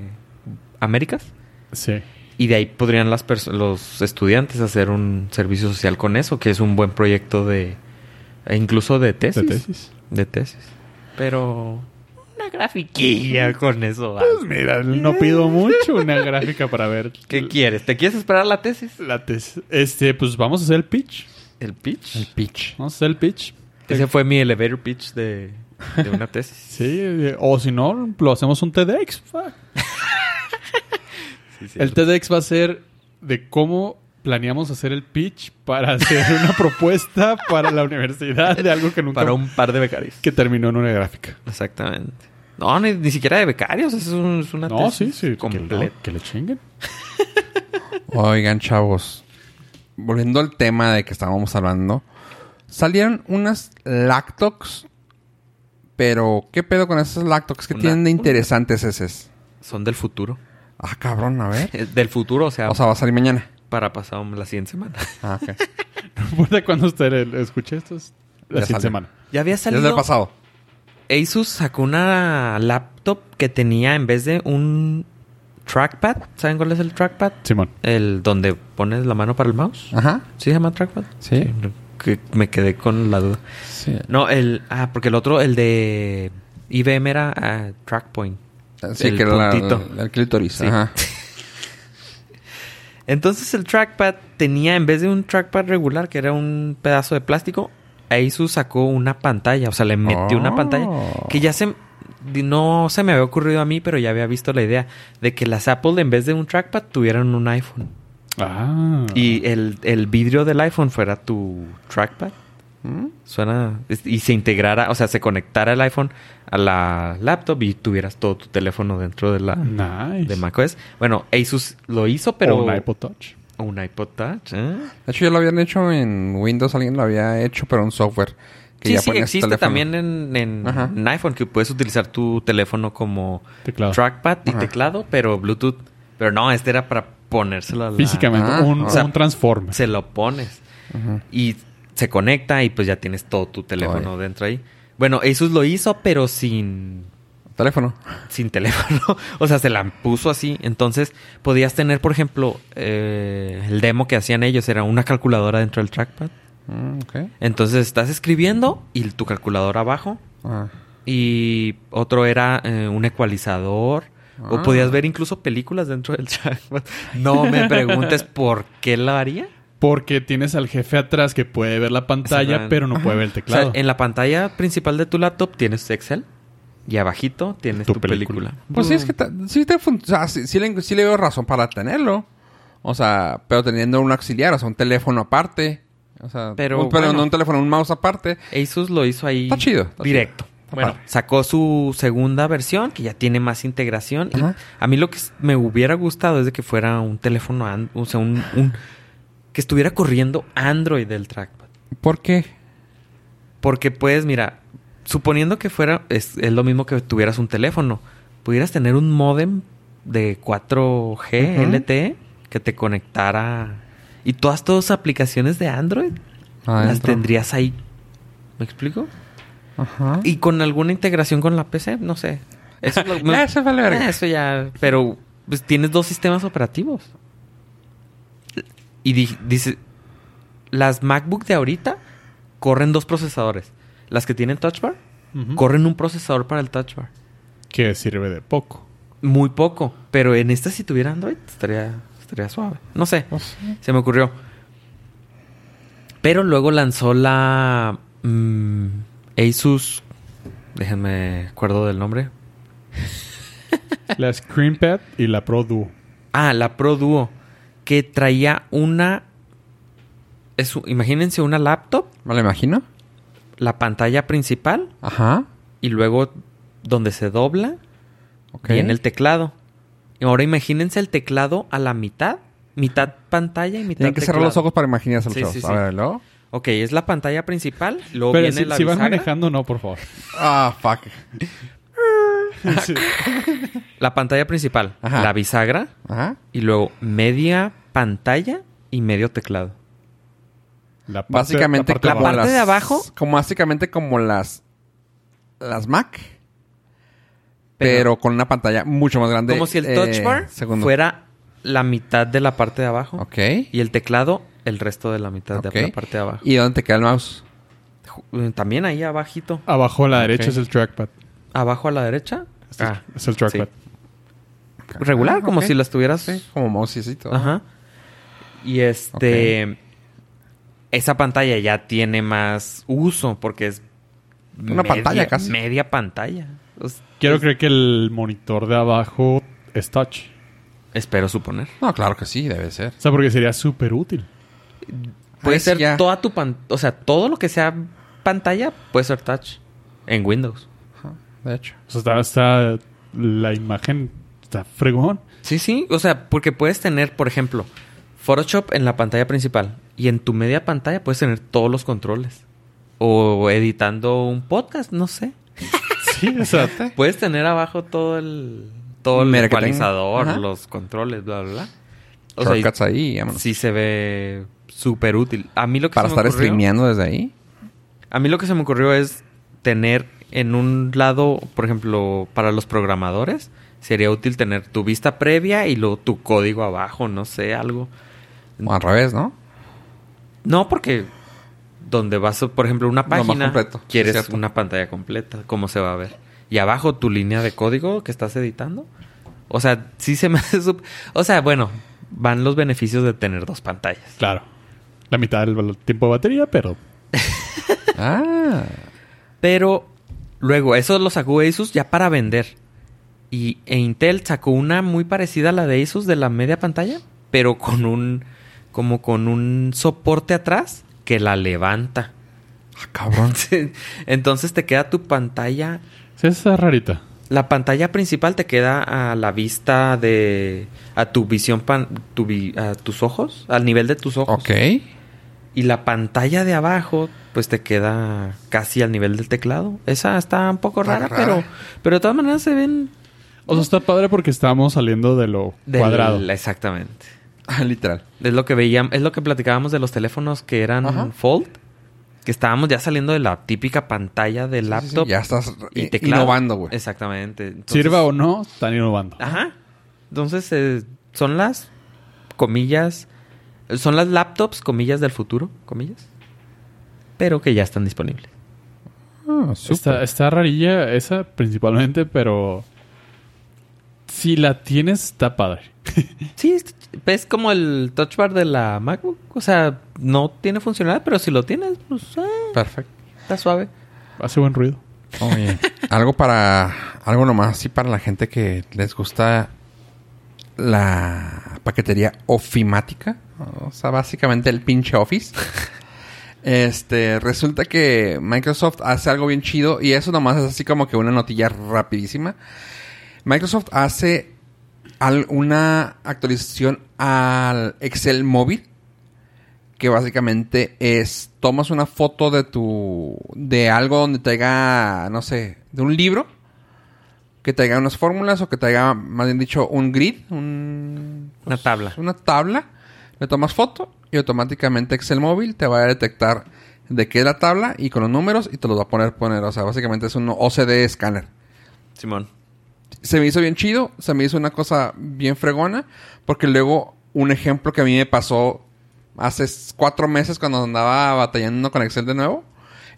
Speaker 3: Américas
Speaker 2: Sí.
Speaker 3: y de ahí podrían las perso- los estudiantes hacer un servicio social con eso, que es un buen proyecto de e incluso de
Speaker 2: De
Speaker 3: tesis.
Speaker 2: tesis.
Speaker 3: De tesis. Pero una grafiquilla con eso. va.
Speaker 2: Pues mira, no pido mucho una gráfica para ver.
Speaker 3: ¿Qué quieres? ¿Te quieres esperar la tesis?
Speaker 2: La tesis. Este, pues vamos a hacer el pitch.
Speaker 3: ¿El pitch?
Speaker 1: El pitch.
Speaker 2: Vamos a hacer el pitch.
Speaker 3: Ese fue mi elevator pitch de, de una tesis.
Speaker 2: Sí, eh, o si no, lo hacemos un TEDx. Fuck. El TEDx va a ser de cómo planeamos hacer el pitch para hacer una propuesta para la universidad de algo que nunca
Speaker 3: Para un par de becarios.
Speaker 2: que terminó en una gráfica.
Speaker 3: Exactamente. No, ni, ni siquiera de becarios. Es, un- es una
Speaker 2: No, sí,
Speaker 3: tesis
Speaker 2: sí. Que,
Speaker 3: completa.
Speaker 2: le- que le chinguen.
Speaker 1: Oigan, chavos. Volviendo al tema de que estábamos hablando. Salieron unas lactox. Pero, ¿qué pedo con esas lactox? ¿Qué
Speaker 3: Una-
Speaker 1: tienen de interesantes esas?
Speaker 3: Son del futuro.
Speaker 1: Ah, cabrón, a ver.
Speaker 3: Eh, Del futuro, o sea,
Speaker 1: O sea, va a salir mañana.
Speaker 3: para pasado la siguiente semana.
Speaker 1: Ah, ok.
Speaker 2: No importa cuándo usted escuche esto. es la
Speaker 1: Ya
Speaker 2: siguiente
Speaker 1: salió.
Speaker 2: semana.
Speaker 3: Ya había
Speaker 1: Desde el
Speaker 3: salido.
Speaker 1: pasado.
Speaker 3: Asus sacó una laptop que tenía en vez de un trackpad. ¿Saben cuál es el trackpad?
Speaker 2: Simón.
Speaker 3: El donde pones la mano para el mouse.
Speaker 1: Ajá.
Speaker 3: ¿Sí se llama trackpad?
Speaker 1: Sí.
Speaker 3: Que me quedé con la duda.
Speaker 1: Sí.
Speaker 3: No, el. Ah, porque el otro, el de IBM era ah, Trackpoint.
Speaker 1: Ah, Sí,
Speaker 3: El
Speaker 1: que era la-
Speaker 3: puntito.
Speaker 1: la- el clítoris.
Speaker 3: Sí.
Speaker 1: Ajá.
Speaker 3: Entonces el trackpad tenía, en vez de un trackpad regular, que era un pedazo de plástico, Asus sacó una pantalla. O sea, le metió una
Speaker 1: Oh.
Speaker 3: pantalla que ya se. No se me había ocurrido a mí, pero ya había visto la idea de que las Apple, en vez de un trackpad, tuvieran un iPhone.
Speaker 2: Ah.
Speaker 3: Y el, el vidrio del iPhone fuera tu trackpad.
Speaker 1: ¿Mm?
Speaker 3: Suena. es- Y se integrara, o sea, se conectara el iPhone a la laptop y tuvieras todo tu teléfono dentro de la
Speaker 2: Ah, Nice.
Speaker 3: de macOS. Bueno, Asus lo hizo, pero.
Speaker 2: O un iPod Touch.
Speaker 3: o un iPod Touch. ¿eh?
Speaker 1: De hecho, ya lo habían hecho en Windows, alguien lo había hecho, pero un software. Que
Speaker 3: Sí,
Speaker 1: ya
Speaker 3: sí,
Speaker 1: ponías
Speaker 3: existe
Speaker 1: teléfono.
Speaker 3: también eh. en, en-
Speaker 1: Ajá.
Speaker 3: en iPhone que puedes utilizar tu teléfono como
Speaker 2: Teclado.
Speaker 3: trackpad y
Speaker 1: Ajá.
Speaker 3: teclado, pero Bluetooth. Pero no, este era para ponérselo a la-
Speaker 2: Físicamente.
Speaker 1: Ah,
Speaker 2: un,
Speaker 1: o
Speaker 3: sea,
Speaker 2: un Transformer.
Speaker 3: Se lo pones.
Speaker 1: Ujú.
Speaker 3: y se conecta y pues ya tienes todo tu teléfono dentro ahí. Bueno, Asus lo hizo, pero sin,
Speaker 1: Teléfono.
Speaker 3: sin teléfono. O sea, se la puso así. Entonces, podías tener, por ejemplo, eh, el demo que hacían ellos era una calculadora dentro del trackpad.
Speaker 1: Mm, ok.
Speaker 3: Entonces, estás escribiendo y tu calculadora abajo.
Speaker 1: Ah.
Speaker 3: Y otro era eh, un ecualizador. O
Speaker 1: Ah.
Speaker 3: podías ver incluso películas dentro del trackpad. No me preguntes por qué lo haría.
Speaker 2: Porque tienes al jefe atrás que puede ver la pantalla,
Speaker 3: Exactamente.
Speaker 2: pero no puede ver el teclado.
Speaker 3: O sea, en la pantalla principal de tu laptop tienes Excel. Y abajito tienes
Speaker 2: Tu
Speaker 3: tu,
Speaker 2: película.
Speaker 3: película.
Speaker 1: Pues sí, es que ta- sí, te fun- o sea, sí, sí le, sí le veo razón para tenerlo. O sea, pero teniendo un auxiliar, o sea, un teléfono aparte. O sea,
Speaker 3: Pero,
Speaker 1: un- pero
Speaker 3: bueno.
Speaker 1: no un teléfono, un mouse aparte.
Speaker 3: Asus lo hizo ahí.
Speaker 1: Está chido, está
Speaker 3: directo.
Speaker 1: chido. Está
Speaker 3: Bueno,
Speaker 1: padre.
Speaker 3: sacó su segunda versión que ya tiene más integración. Y
Speaker 1: Ajá.
Speaker 3: a mí lo que s- me hubiera gustado es de que fuera un teléfono, an- o sea, un, un- que estuviera corriendo Android del trackpad.
Speaker 1: ¿Por qué?
Speaker 3: Porque puedes, mira, suponiendo que fuera, es, es lo mismo que tuvieras un teléfono, pudieras tener un módem de 4G
Speaker 1: Ujú.
Speaker 3: LTE que te conectara y todas tus aplicaciones de Android las
Speaker 1: Adentro.
Speaker 3: tendrías ahí. ¿Me explico?
Speaker 1: Ajá.
Speaker 3: Y con alguna integración con la PC, no sé. Eso, es lo- me-
Speaker 1: Ah, eso vale verga.
Speaker 3: Ah, eso ya. Pero pues, tienes dos sistemas operativos. Y di- dice, las MacBook de ahorita corren dos procesadores. Las que tienen Touch Bar
Speaker 2: Ujú.
Speaker 3: corren un procesador para el Touch Bar.
Speaker 2: Que sirve de poco.
Speaker 3: Muy poco. Pero en esta si tuviera Android estaría, estaría suave. No sé.
Speaker 1: Pues
Speaker 3: Se me ocurrió. Pero luego lanzó la mm, Asus. Déjenme acuerdo del nombre.
Speaker 2: La ScreenPad y la Pro Duo.
Speaker 3: Ah, la Pro Duo. Que traía una. es u- imagínense una laptop,
Speaker 1: ¿Me lo imagino?
Speaker 3: la pantalla principal
Speaker 1: Ajá.
Speaker 3: y luego donde se dobla
Speaker 1: Ok.
Speaker 3: viene el teclado. Y ahora imagínense el teclado a la mitad, mitad pantalla y mitad
Speaker 1: Tienen que cerrar
Speaker 3: teclado.
Speaker 1: los ojos para imaginarse los
Speaker 3: Sí,
Speaker 1: ojos.
Speaker 3: sí,
Speaker 1: A
Speaker 3: sí.
Speaker 1: ver, luego.
Speaker 3: Ok, es la pantalla principal, luego
Speaker 2: Pero
Speaker 3: viene
Speaker 2: si,
Speaker 3: la
Speaker 2: si vas
Speaker 3: bisagra.
Speaker 2: manejando, no, por favor.
Speaker 1: Ah, fuck.
Speaker 3: Ah,
Speaker 2: Sí.
Speaker 3: La pantalla principal,
Speaker 1: Ajá.
Speaker 3: la bisagra
Speaker 1: Ajá.
Speaker 3: y luego media pantalla y medio teclado.
Speaker 2: La parte-
Speaker 1: Básicamente
Speaker 2: la parte
Speaker 1: como
Speaker 2: baja.
Speaker 1: las...
Speaker 3: parte de abajo.
Speaker 1: Como básicamente como las... Las Mac. Pero,
Speaker 3: Pero-
Speaker 1: con una pantalla mucho más grande.
Speaker 3: Como si el
Speaker 1: eh,
Speaker 3: touch bar
Speaker 1: segundo.
Speaker 3: fuera la mitad de la parte de abajo
Speaker 1: Ok.
Speaker 3: y el teclado el resto de la mitad
Speaker 1: ok.
Speaker 3: de la parte de abajo.
Speaker 1: ¿Y dónde te queda el mouse?
Speaker 3: Ju- También ahí abajito,
Speaker 2: Abajo a la derecha
Speaker 1: Ok.
Speaker 2: es el trackpad.
Speaker 3: abajo a la derecha.
Speaker 2: Este es-
Speaker 3: Ah,
Speaker 2: es el trackpad.
Speaker 3: sí. Regular,
Speaker 1: Ah,
Speaker 3: como
Speaker 1: ok.
Speaker 3: si la estuvieras...
Speaker 1: Sí, como mousecito.
Speaker 3: Ajá. Y este... Esa pantalla ya tiene más uso porque es...
Speaker 1: Una pantalla casi.
Speaker 3: Media pantalla. O sea,
Speaker 2: Quiero creer que el monitor de abajo es touch.
Speaker 3: Espero suponer.
Speaker 1: No, claro que sí, debe ser.
Speaker 2: O sea, porque sería súper útil.
Speaker 3: Puede
Speaker 1: Ahí sí
Speaker 3: ser
Speaker 1: ya.
Speaker 3: toda tu pan... O sea, todo lo que sea pantalla puede ser touch en Windows.
Speaker 1: Ajá, De hecho.
Speaker 2: O sea, está, está- la imagen está fregón.
Speaker 3: Sí, sí. O sea, porque puedes tener, por ejemplo, Photoshop en la pantalla principal y en tu media pantalla puedes tener todos los controles. O editando un podcast, no sé.
Speaker 2: Sí, o sea,
Speaker 3: Puedes tener abajo todo el... Todo el
Speaker 1: Mira que tengo.
Speaker 3: ecualizador,
Speaker 1: Ajá.
Speaker 3: los controles, bla, bla, bla. O sea, y
Speaker 1: Shortcuts ahí, vámonos.
Speaker 3: sí se ve súper útil. A mí lo que
Speaker 1: Para
Speaker 3: se
Speaker 1: estar
Speaker 3: me ocurrió-
Speaker 1: streameando desde ahí.
Speaker 3: A mí lo que se me ocurrió es tener en un lado, por ejemplo, para los programadores, sería útil tener tu vista previa y luego tu código abajo, no sé, algo.
Speaker 1: O al revés, ¿no?
Speaker 3: No, porque donde vas, por ejemplo, una
Speaker 1: Lo más
Speaker 3: página,
Speaker 1: completo, sí,
Speaker 3: quieres
Speaker 1: cierto.
Speaker 3: una pantalla completa, cómo se va a ver. Y abajo tu línea de código que estás editando. O sea, sí se me hace... sup- O sea, bueno, van los beneficios de tener dos pantallas.
Speaker 2: claro. La mitad del tiempo de batería, pero
Speaker 1: Ah.
Speaker 3: Pero luego, eso lo sacó Asus ya para vender. Y e Intel sacó una muy parecida a la de Asus de la media pantalla, pero con un como con un soporte atrás que la levanta.
Speaker 1: Ah, cabrón.
Speaker 3: Entonces te queda tu pantalla,
Speaker 2: sí, esa es rarita.
Speaker 3: la pantalla principal te queda a la vista de a tu visión pan- tu vi- a tus ojos, al nivel de tus ojos.
Speaker 1: ok.
Speaker 3: Y la pantalla de abajo, pues te queda casi al nivel del teclado. Esa está un poco
Speaker 1: Está
Speaker 3: rara,
Speaker 1: rara.
Speaker 3: pero pero de todas maneras se ven
Speaker 2: O sea, está padre porque estamos saliendo de lo
Speaker 3: del-
Speaker 2: cuadrado.
Speaker 3: Exactamente.
Speaker 1: Ah, Literal.
Speaker 3: Es lo que veíamos, es lo que platicábamos de los teléfonos que eran
Speaker 1: Ajá.
Speaker 3: fold, que estábamos ya saliendo de la típica pantalla
Speaker 1: Sí,
Speaker 3: del
Speaker 1: sí,
Speaker 3: laptop
Speaker 1: Ya estás
Speaker 3: y
Speaker 1: eh,
Speaker 3: teclado.
Speaker 1: innovando, güey.
Speaker 3: Exactamente. Entonces- Ah,
Speaker 2: Sirva o no, están innovando.
Speaker 3: Ajá. Entonces, eh, son las comillas. Son las laptops, comillas del futuro, comillas. Pero que ya están disponibles.
Speaker 1: Ah,
Speaker 2: Está,
Speaker 1: súper.
Speaker 2: está rarilla esa principalmente, pero si la tienes está padre.
Speaker 3: Sí, es, es como el touch bar de la MacBook. O sea, no tiene funcionalidad, pero si lo tienes, pues ah,
Speaker 1: Perfecto.
Speaker 3: está suave.
Speaker 2: Hace buen ruido.
Speaker 1: Oye, algo para. Algo nomás así para la gente que les gusta la paquetería ofimática. O sea, básicamente el pinche Office. Este, resulta que Microsoft hace algo bien chido y eso nomás es así como que una notilla rapidísima. Microsoft hace al- una actualización al Excel móvil que básicamente es tomas una foto de tu de algo donde traiga no sé de un libro que traiga unas fórmulas o que traiga más bien dicho un grid un-
Speaker 3: Una tabla.
Speaker 1: una tabla le tomas foto y automáticamente Excel móvil te va a detectar de qué es la tabla y con los números y te los va a poner poner o sea básicamente es un OCD escáner
Speaker 3: Simón.
Speaker 1: se me hizo bien chido, se me hizo una cosa bien fregona, porque luego un ejemplo que a mí me pasó hace s- cuatro meses cuando andaba batallando con Excel de nuevo,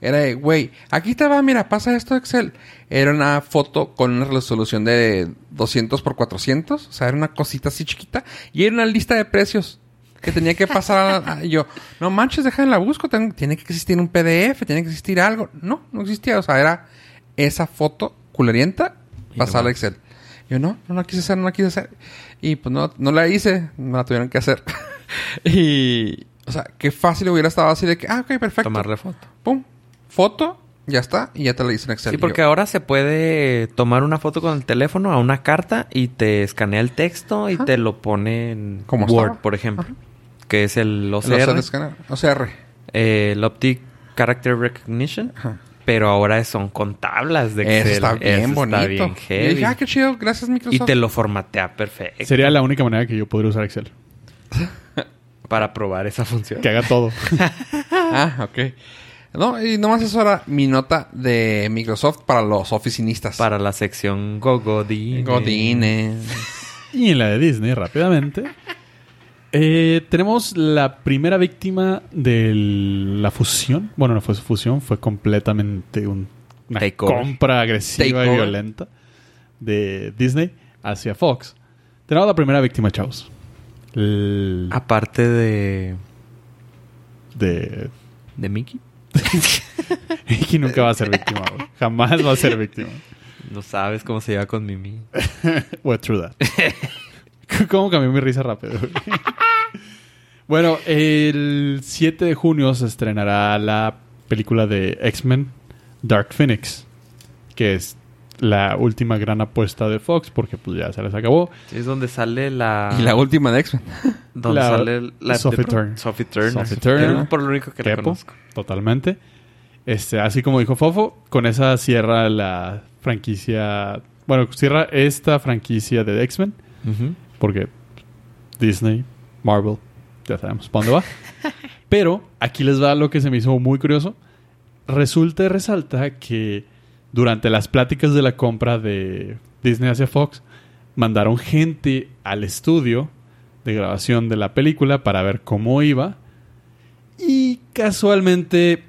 Speaker 1: era de, güey, aquí te va, mira, pasa esto de Excel. Era una foto con una resolución de 200 por 400, o sea, era una cosita así chiquita, y era una lista de precios. Que tenía que pasar a, a- y yo, no manches, déjala, busco. ten- tiene que existir un PDF, tiene que existir algo. No, no existía. O sea, era esa foto culerienta
Speaker 3: Y
Speaker 1: pasarla a
Speaker 3: nomás.
Speaker 1: Excel. Yo no, no la quise hacer, no la quise hacer. Y pues no, no la hice, me la tuvieron que hacer. y, o sea, qué fácil hubiera estado así de que, ah, ok, perfecto.
Speaker 3: Tomarle foto.
Speaker 1: Pum, foto, ya está, y ya te la hice en Excel.
Speaker 3: Sí,
Speaker 1: Y
Speaker 3: porque
Speaker 1: yo,
Speaker 3: ahora se puede tomar una foto con el teléfono a una carta y te escanea el texto y
Speaker 1: Ajá.
Speaker 3: te lo pone en
Speaker 1: Como
Speaker 3: Word,
Speaker 1: estaba.
Speaker 3: por ejemplo,
Speaker 1: Ajá.
Speaker 3: que es el
Speaker 1: lo sé de
Speaker 3: OCR,
Speaker 1: escanear. OCR.
Speaker 3: eh, el Optic Character Recognition,
Speaker 1: Ajá.
Speaker 3: pero ahora son con tablas de Excel.
Speaker 1: Eso está bien
Speaker 3: Eso
Speaker 1: bonito.
Speaker 3: Está
Speaker 1: y
Speaker 3: bien
Speaker 1: dije,
Speaker 3: heavy.
Speaker 1: ah, qué chido, gracias
Speaker 3: y
Speaker 1: Microsoft.
Speaker 3: te lo formatea perfecto
Speaker 2: Sería la única manera que yo podría usar Excel.
Speaker 3: para probar esa función.
Speaker 2: Que haga todo.
Speaker 1: Ah, ok. No, y nomás eso era mi nota de Microsoft para los oficinistas.
Speaker 3: Para la sección Gogodine.
Speaker 1: Godines.
Speaker 2: Y en la de Disney, rápidamente. Eh, tenemos la primera víctima de la fusión. Bueno, no fue su fusión, fue completamente un- una
Speaker 3: Takeover.
Speaker 2: compra agresiva y
Speaker 1: Takeover.
Speaker 2: violenta de Disney hacia Fox. Tenemos la primera víctima, chavos. El-
Speaker 3: Aparte de.
Speaker 2: de
Speaker 3: de Mickey.
Speaker 2: Mickey nunca va a ser víctima, güey. Jamás va a ser víctima.
Speaker 3: No sabes cómo se lleva con Mimi.
Speaker 2: Well, true that. ¿Cómo cambió mi risa rápido? güey? bueno, el 7 de junio se estrenará la película de X-Men Dark Phoenix, que es la última gran apuesta de Fox porque pues ya se les acabó.
Speaker 3: Es donde sale la.
Speaker 1: Y la última de X-Men.
Speaker 3: Donde
Speaker 2: La-
Speaker 3: sale la
Speaker 2: Sophie
Speaker 3: de-
Speaker 2: Turner.
Speaker 3: Sophie Turner.
Speaker 2: Sophie Turner.
Speaker 3: Yo por lo único que la
Speaker 2: Pepo,
Speaker 3: conozco.
Speaker 2: totalmente. Este, así como dijo Fofo, con esa cierra la franquicia, bueno, cierra esta franquicia de X-Men Porque Disney, Marvel, ya sabemos para dónde va. Pero aquí les va lo que se me hizo muy curioso. Resulta y resalta que durante las pláticas de la compra de Disney hacia Fox, mandaron gente al estudio de grabación de la película para ver cómo iba. Y casualmente,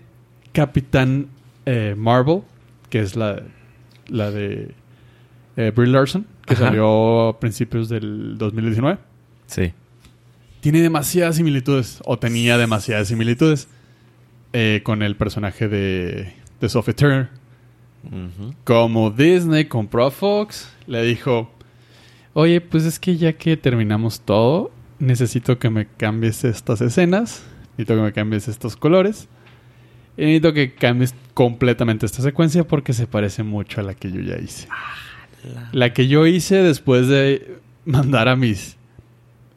Speaker 2: Capitán eh, Marvel, que es la, la de eh, Brie Larson, que
Speaker 3: Ajá.
Speaker 2: salió a principios del 2019,
Speaker 3: Sí.
Speaker 2: tiene demasiadas similitudes, o tenía demasiadas similitudes, eh, con el personaje de, de Sophie Turner. Como Disney compró a Fox, le dijo, oye, pues es que ya que terminamos todo, necesito que me cambies estas escenas, necesito que me cambies estos colores, y necesito que cambies completamente esta secuencia porque se parece mucho a la que yo ya hice. La que yo hice después de mandar a mis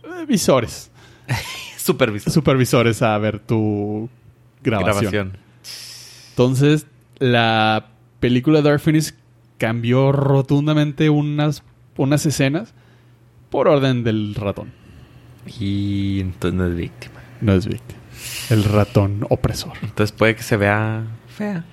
Speaker 2: eh, visores,
Speaker 3: Supervisor.
Speaker 2: supervisores a ver tu grabación.
Speaker 3: Grabación.
Speaker 2: Entonces, la película Dark Phoenix cambió rotundamente unas, unas escenas por orden del ratón.
Speaker 3: Y entonces no es víctima.
Speaker 2: No es víctima. El ratón opresor.
Speaker 3: Entonces puede que se vea fea.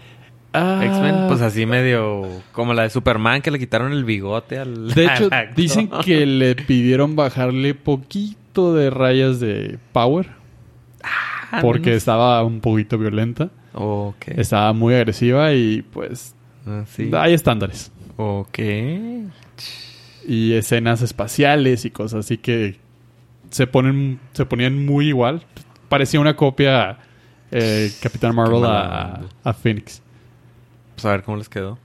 Speaker 2: Ah,
Speaker 3: X-Men, pues así medio como la de Superman que le quitaron el bigote al.
Speaker 2: De hecho,
Speaker 3: al actor.
Speaker 2: dicen que le pidieron bajarle poquito de rayas de power
Speaker 3: Ah,
Speaker 2: porque
Speaker 3: no.
Speaker 2: estaba un poquito violenta,
Speaker 3: Ok.
Speaker 2: estaba muy agresiva y pues
Speaker 3: Ah, sí.
Speaker 2: hay estándares.
Speaker 3: Ok.
Speaker 2: Y escenas espaciales y cosas así que se ponen se ponían muy igual. Parecía una copia eh, Capitán Marvel
Speaker 3: mala
Speaker 2: a,
Speaker 3: onda.
Speaker 2: a Phoenix.
Speaker 3: Pues a ver cómo les quedó.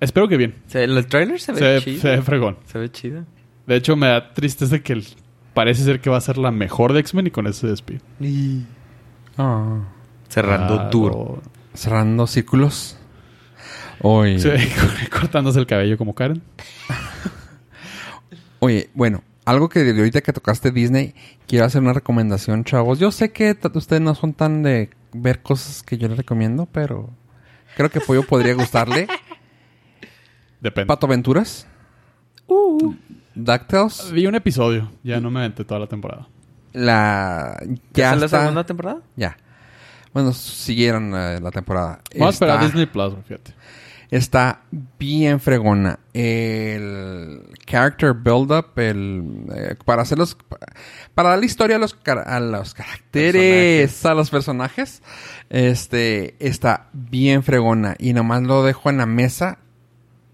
Speaker 2: Espero que bien.
Speaker 3: Se- el trailer se ve
Speaker 2: Se,
Speaker 3: chido.
Speaker 2: se ve fregón.
Speaker 3: Se ve chido.
Speaker 2: De hecho, me da tristeza que el- parece ser que va a ser la mejor de X-Men y con eso se despide.
Speaker 1: Ah.
Speaker 3: Cerrando
Speaker 2: Ah,
Speaker 3: duro.
Speaker 2: no.
Speaker 1: Cerrando círculos. Oye.
Speaker 2: Sí, cortándose el cabello como Karen.
Speaker 1: Oye, bueno, algo que de ahorita que tocaste Disney, quiero hacer una recomendación, chavos. Yo sé que t- ustedes no son tan de ver cosas que yo les recomiendo, pero creo que Pollo podría gustarle.
Speaker 2: Depende.
Speaker 1: Pato Aventuras.
Speaker 3: Uh.
Speaker 1: DuckTales.
Speaker 2: Vi un episodio, ya no me aventé toda la temporada.
Speaker 1: La. Ya
Speaker 3: ¿Esa es la
Speaker 1: está-
Speaker 3: segunda temporada?
Speaker 1: Ya. Bueno, siguieron eh, la temporada.
Speaker 2: Vamos a esperar a
Speaker 1: Está-
Speaker 2: Disney Plus, güey, fíjate.
Speaker 1: Está bien fregona. El character build-up, el, eh, para hacer los... Para dar la historia a los, car- a los caracteres, a los personajes, este, está bien fregona. Y nomás lo dejo en la mesa.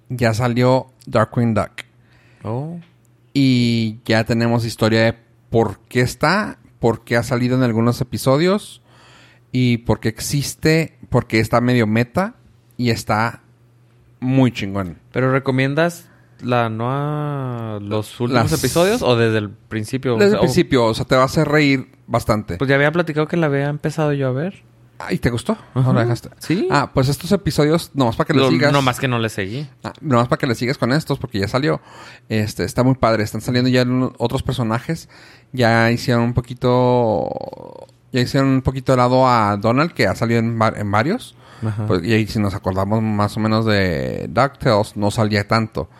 Speaker 1: Ya salió Darkwing Duck.
Speaker 3: Oh.
Speaker 1: Y ya tenemos historia de por qué está, por qué ha salido en algunos episodios y por qué existe, por qué está medio meta y está muy chingón.
Speaker 3: ¿Pero recomiendas la nueva. los últimos
Speaker 1: Las-
Speaker 3: episodios o desde el principio? O
Speaker 1: Desde el
Speaker 3: sea, o-
Speaker 1: principio, o sea, te va a hacer reír bastante.
Speaker 3: pues ya había platicado que la había empezado yo a ver.
Speaker 1: Ah, ¿Y te gustó? No lo dejaste.
Speaker 3: Sí.
Speaker 1: Ah, pues estos episodios, nomás para que le
Speaker 3: Lo-
Speaker 1: sigas.
Speaker 3: no más que no le seguí.
Speaker 1: Ah, nomás para que le sigas con estos, porque ya salió. Este, está muy padre. Están saliendo ya uno- otros personajes. Ya hicieron un poquito. Ya hicieron un poquito de lado a Donald, que ha salido en, va- en varios.
Speaker 3: Ajá.
Speaker 1: Pues, y ahí, si nos acordamos más o menos de DuckTales, no salía tanto.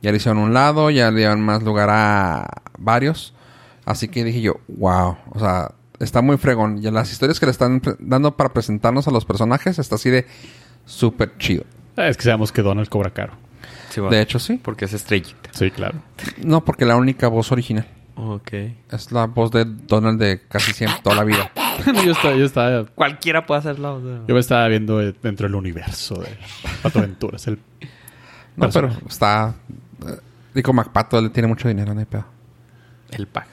Speaker 1: Ya le hicieron un lado, ya le dieron más lugar a varios. Así que dije yo, wow. O sea, está muy fregón. Y las historias que le están pre- dando para presentarnos a los personajes está así de súper chido.
Speaker 2: Ah, Es que sabemos que Donald cobra caro.
Speaker 3: Sí, va.
Speaker 1: De hecho, sí.
Speaker 3: Porque es estrellita.
Speaker 2: Sí, claro.
Speaker 1: No, porque la única voz original
Speaker 3: Ok.
Speaker 1: es la voz de Donald de casi siempre, toda la vida.
Speaker 2: yo, estaba, yo, estaba,
Speaker 3: Cualquiera puede hacerla. o sea.
Speaker 2: yo me estaba viendo eh, dentro del universo de Pato Aventuras. El,
Speaker 1: No, pero
Speaker 2: Personaje.
Speaker 1: está. eh, Rico MacPato le tiene mucho dinero, no hay pedo.
Speaker 3: El pack.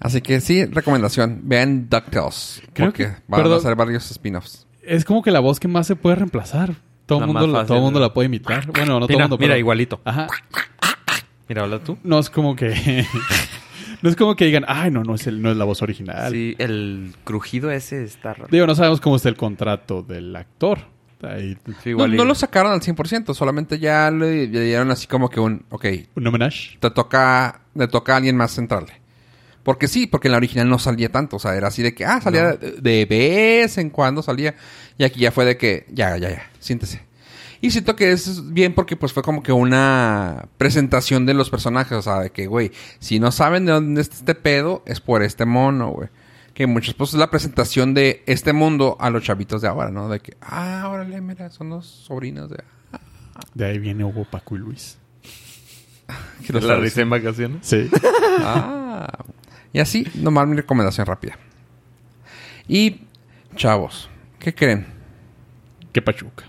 Speaker 1: Así que sí, recomendación. Vean DuckTales.
Speaker 2: Creo
Speaker 1: porque
Speaker 2: que-
Speaker 1: van a
Speaker 2: perdón.
Speaker 1: hacer varios spin-offs.
Speaker 2: es como que la voz que más se puede reemplazar. Todo
Speaker 3: La
Speaker 2: el
Speaker 3: más
Speaker 2: mundo, la-
Speaker 3: fácil.
Speaker 2: todo mundo la puede imitar. Bueno, no todo el
Speaker 3: mira,
Speaker 2: mundo.
Speaker 3: mira,
Speaker 2: pero-
Speaker 3: igualito.
Speaker 2: Ajá.
Speaker 3: Mira, habla tú.
Speaker 2: No es como que. no es como que digan, ay, no, no es, el, no es la voz original.
Speaker 3: Sí, el crujido ese está raro.
Speaker 2: Digo, no sabemos cómo está el contrato del actor. Ahí,
Speaker 1: No,
Speaker 3: Sí, igual
Speaker 1: no
Speaker 3: y-
Speaker 1: lo sacaron al 100%, solamente ya le, le dieron así como que un. Ok,
Speaker 2: un homenaje.
Speaker 1: te toca, le toca a alguien más centrarle. Porque sí, porque en la original no salía tanto. O sea, era así de que, ah, salía de, de vez en cuando salía. Y aquí ya fue de que, ya, ya, ya, siéntese. Y siento que es bien porque pues fue como que una presentación de los personajes. O sea, de que, güey, si no saben de dónde está este pedo, es por este mono, güey. Que muchos, pues es la presentación de este mundo a los chavitos de ahora, ¿no? De que, ah, órale, mira, son los sobrinos de...
Speaker 2: De ahí viene Hugo Paco y Luis.
Speaker 1: que los
Speaker 3: la
Speaker 1: sabes.
Speaker 3: risa en vacaciones.
Speaker 2: Sí.
Speaker 1: Ah. Y así, nomás mi recomendación rápida. Y, chavos, ¿qué creen?
Speaker 2: Qué pachuca.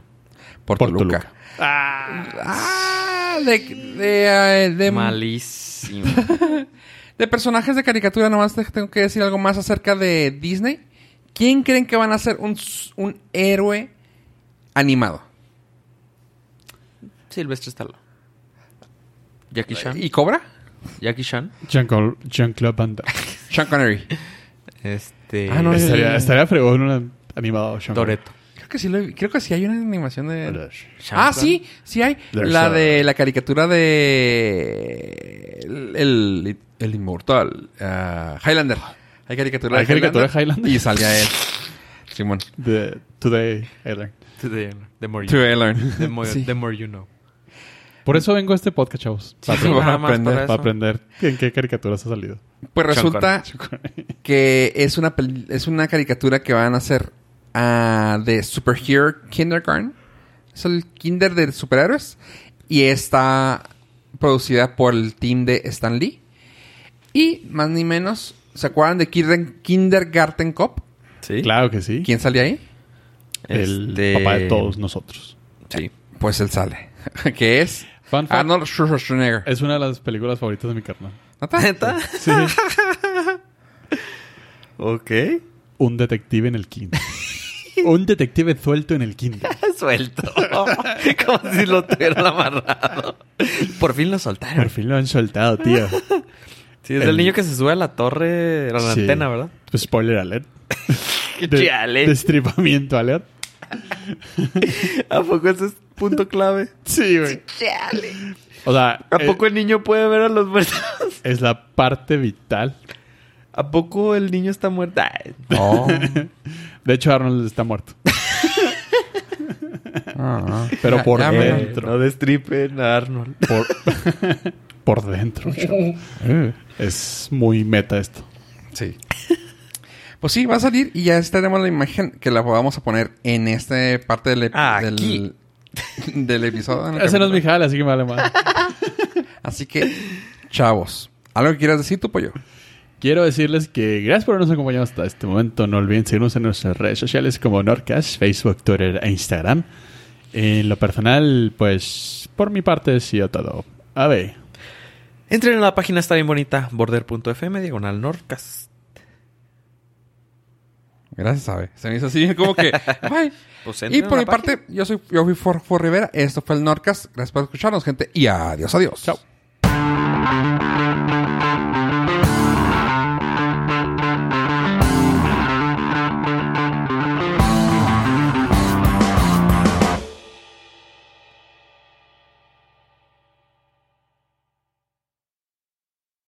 Speaker 1: Por,
Speaker 2: Por
Speaker 1: Toluca.
Speaker 2: Toluca.
Speaker 1: Ah, de, de, eh,
Speaker 3: Em.
Speaker 1: de-
Speaker 3: Malísimo.
Speaker 1: de personajes de caricatura, nomás te- tengo que decir algo más acerca de Disney. ¿Quién creen que van a ser un, s- un héroe animado?
Speaker 3: Silvestre Stallone. Jackie Chan.
Speaker 1: ¿Y Cobra?
Speaker 3: Jackie Chan.
Speaker 2: Jean-Col- Jean-Claude Van Damme.
Speaker 1: Sean Connery.
Speaker 3: Este.
Speaker 1: Ah, no, es-
Speaker 2: Estaría, estaría fregón un animado Jean-Claude.
Speaker 3: Toreto.
Speaker 1: Creo que sí, lo he- creo que sí hay una animación de...
Speaker 3: Sean
Speaker 1: Ah,
Speaker 3: Connery.
Speaker 1: sí, sí hay.
Speaker 2: There's
Speaker 1: la
Speaker 2: a-
Speaker 1: de la caricatura de. El, el, el Inmortal. ah, Highlander. Hay caricatura
Speaker 2: Hay caricatura de Highlander.
Speaker 1: Y salía él. Simón.
Speaker 2: De Today I Learned.
Speaker 3: The, the more you,
Speaker 1: To Ellen.
Speaker 3: the more,
Speaker 1: Sí.
Speaker 3: the more you know.
Speaker 2: Por eso vengo a este podcast, chavos.
Speaker 3: Sí,
Speaker 1: Para
Speaker 3: sí, nada
Speaker 1: aprender,
Speaker 3: más para
Speaker 1: para
Speaker 3: eso.
Speaker 2: Para aprender en qué caricaturas ha salido.
Speaker 1: Pues resulta que es una, pel- es una caricatura que van a hacer ah, de Superhero Kindergarten. Es el kinder de superhéroes. Y está producida por el team de Stan Lee. Y más ni menos, ¿se acuerdan de Kinder- Kindergarten Cop?
Speaker 3: Sí.
Speaker 2: Claro que sí.
Speaker 1: ¿Quién salía ahí?
Speaker 2: El
Speaker 3: Este,
Speaker 2: papá de todos nosotros.
Speaker 3: Sí.
Speaker 1: Pues él sale. que es
Speaker 2: Fun
Speaker 3: Ah,
Speaker 2: fact.
Speaker 1: Arnold Schwarzenegger.
Speaker 2: Es una de las películas favoritas de mi carnal.
Speaker 1: ¿Neta?
Speaker 2: Sí.
Speaker 3: Ok.
Speaker 2: Un detective en el kinder. Un detective suelto en el kinder.
Speaker 3: Suelto. Como si lo tuvieran amarrado. Por fin lo soltaron.
Speaker 2: Por fin lo han soltado, tío.
Speaker 3: Sí, es el,
Speaker 2: El-
Speaker 3: niño que se sube a la torre, a la
Speaker 2: Sí.
Speaker 3: antena, ¿verdad?
Speaker 2: Pues, spoiler alert. De-
Speaker 3: Chale.
Speaker 2: Destripamiento alert.
Speaker 3: ¿A poco ese es punto clave?
Speaker 2: Sí, güey. O sea,
Speaker 3: ¿A
Speaker 2: eh,
Speaker 3: poco el niño puede ver a los muertos?
Speaker 2: es la parte vital.
Speaker 3: ¿A poco el niño está muerto? Ay,
Speaker 1: Oh.
Speaker 2: De hecho, Arnold está muerto.
Speaker 1: Ah, ah.
Speaker 2: Pero
Speaker 1: Ya-
Speaker 2: por
Speaker 1: ya me-
Speaker 2: dentro.
Speaker 3: eh, no destripen a Arnold.
Speaker 2: Por, por dentro. chavo. Eh, Es muy meta esto.
Speaker 1: Sí. Pues sí, va a salir y ya tenemos la imagen que la vamos a poner en esta parte del, ep-
Speaker 3: Aquí.
Speaker 1: del, del episodio. en el
Speaker 2: Ese no es
Speaker 1: capítulo.
Speaker 2: mi jale, así que me vale más.
Speaker 1: Así que, chavos, ¿algo que quieras decir tú, pollo?
Speaker 2: Quiero decirles que gracias por habernos acompañado hasta este momento. No olviden seguirnos en nuestras redes sociales como Norcas, Facebook, Twitter e Instagram. En lo personal, pues por mi parte ha sido todo. A ver,
Speaker 3: Entren en la página, está bien bonita, border.fm, diagonal norcas.
Speaker 1: Gracias, Abe. Se me hizo así como que. bye.
Speaker 3: Pues
Speaker 1: y
Speaker 3: entren
Speaker 1: por
Speaker 3: a la
Speaker 1: mi parte, yo soy yo fui For, For Rivera. Esto fue el Norcas. Gracias por escucharnos, gente. Y adiós, adiós.
Speaker 2: Chao.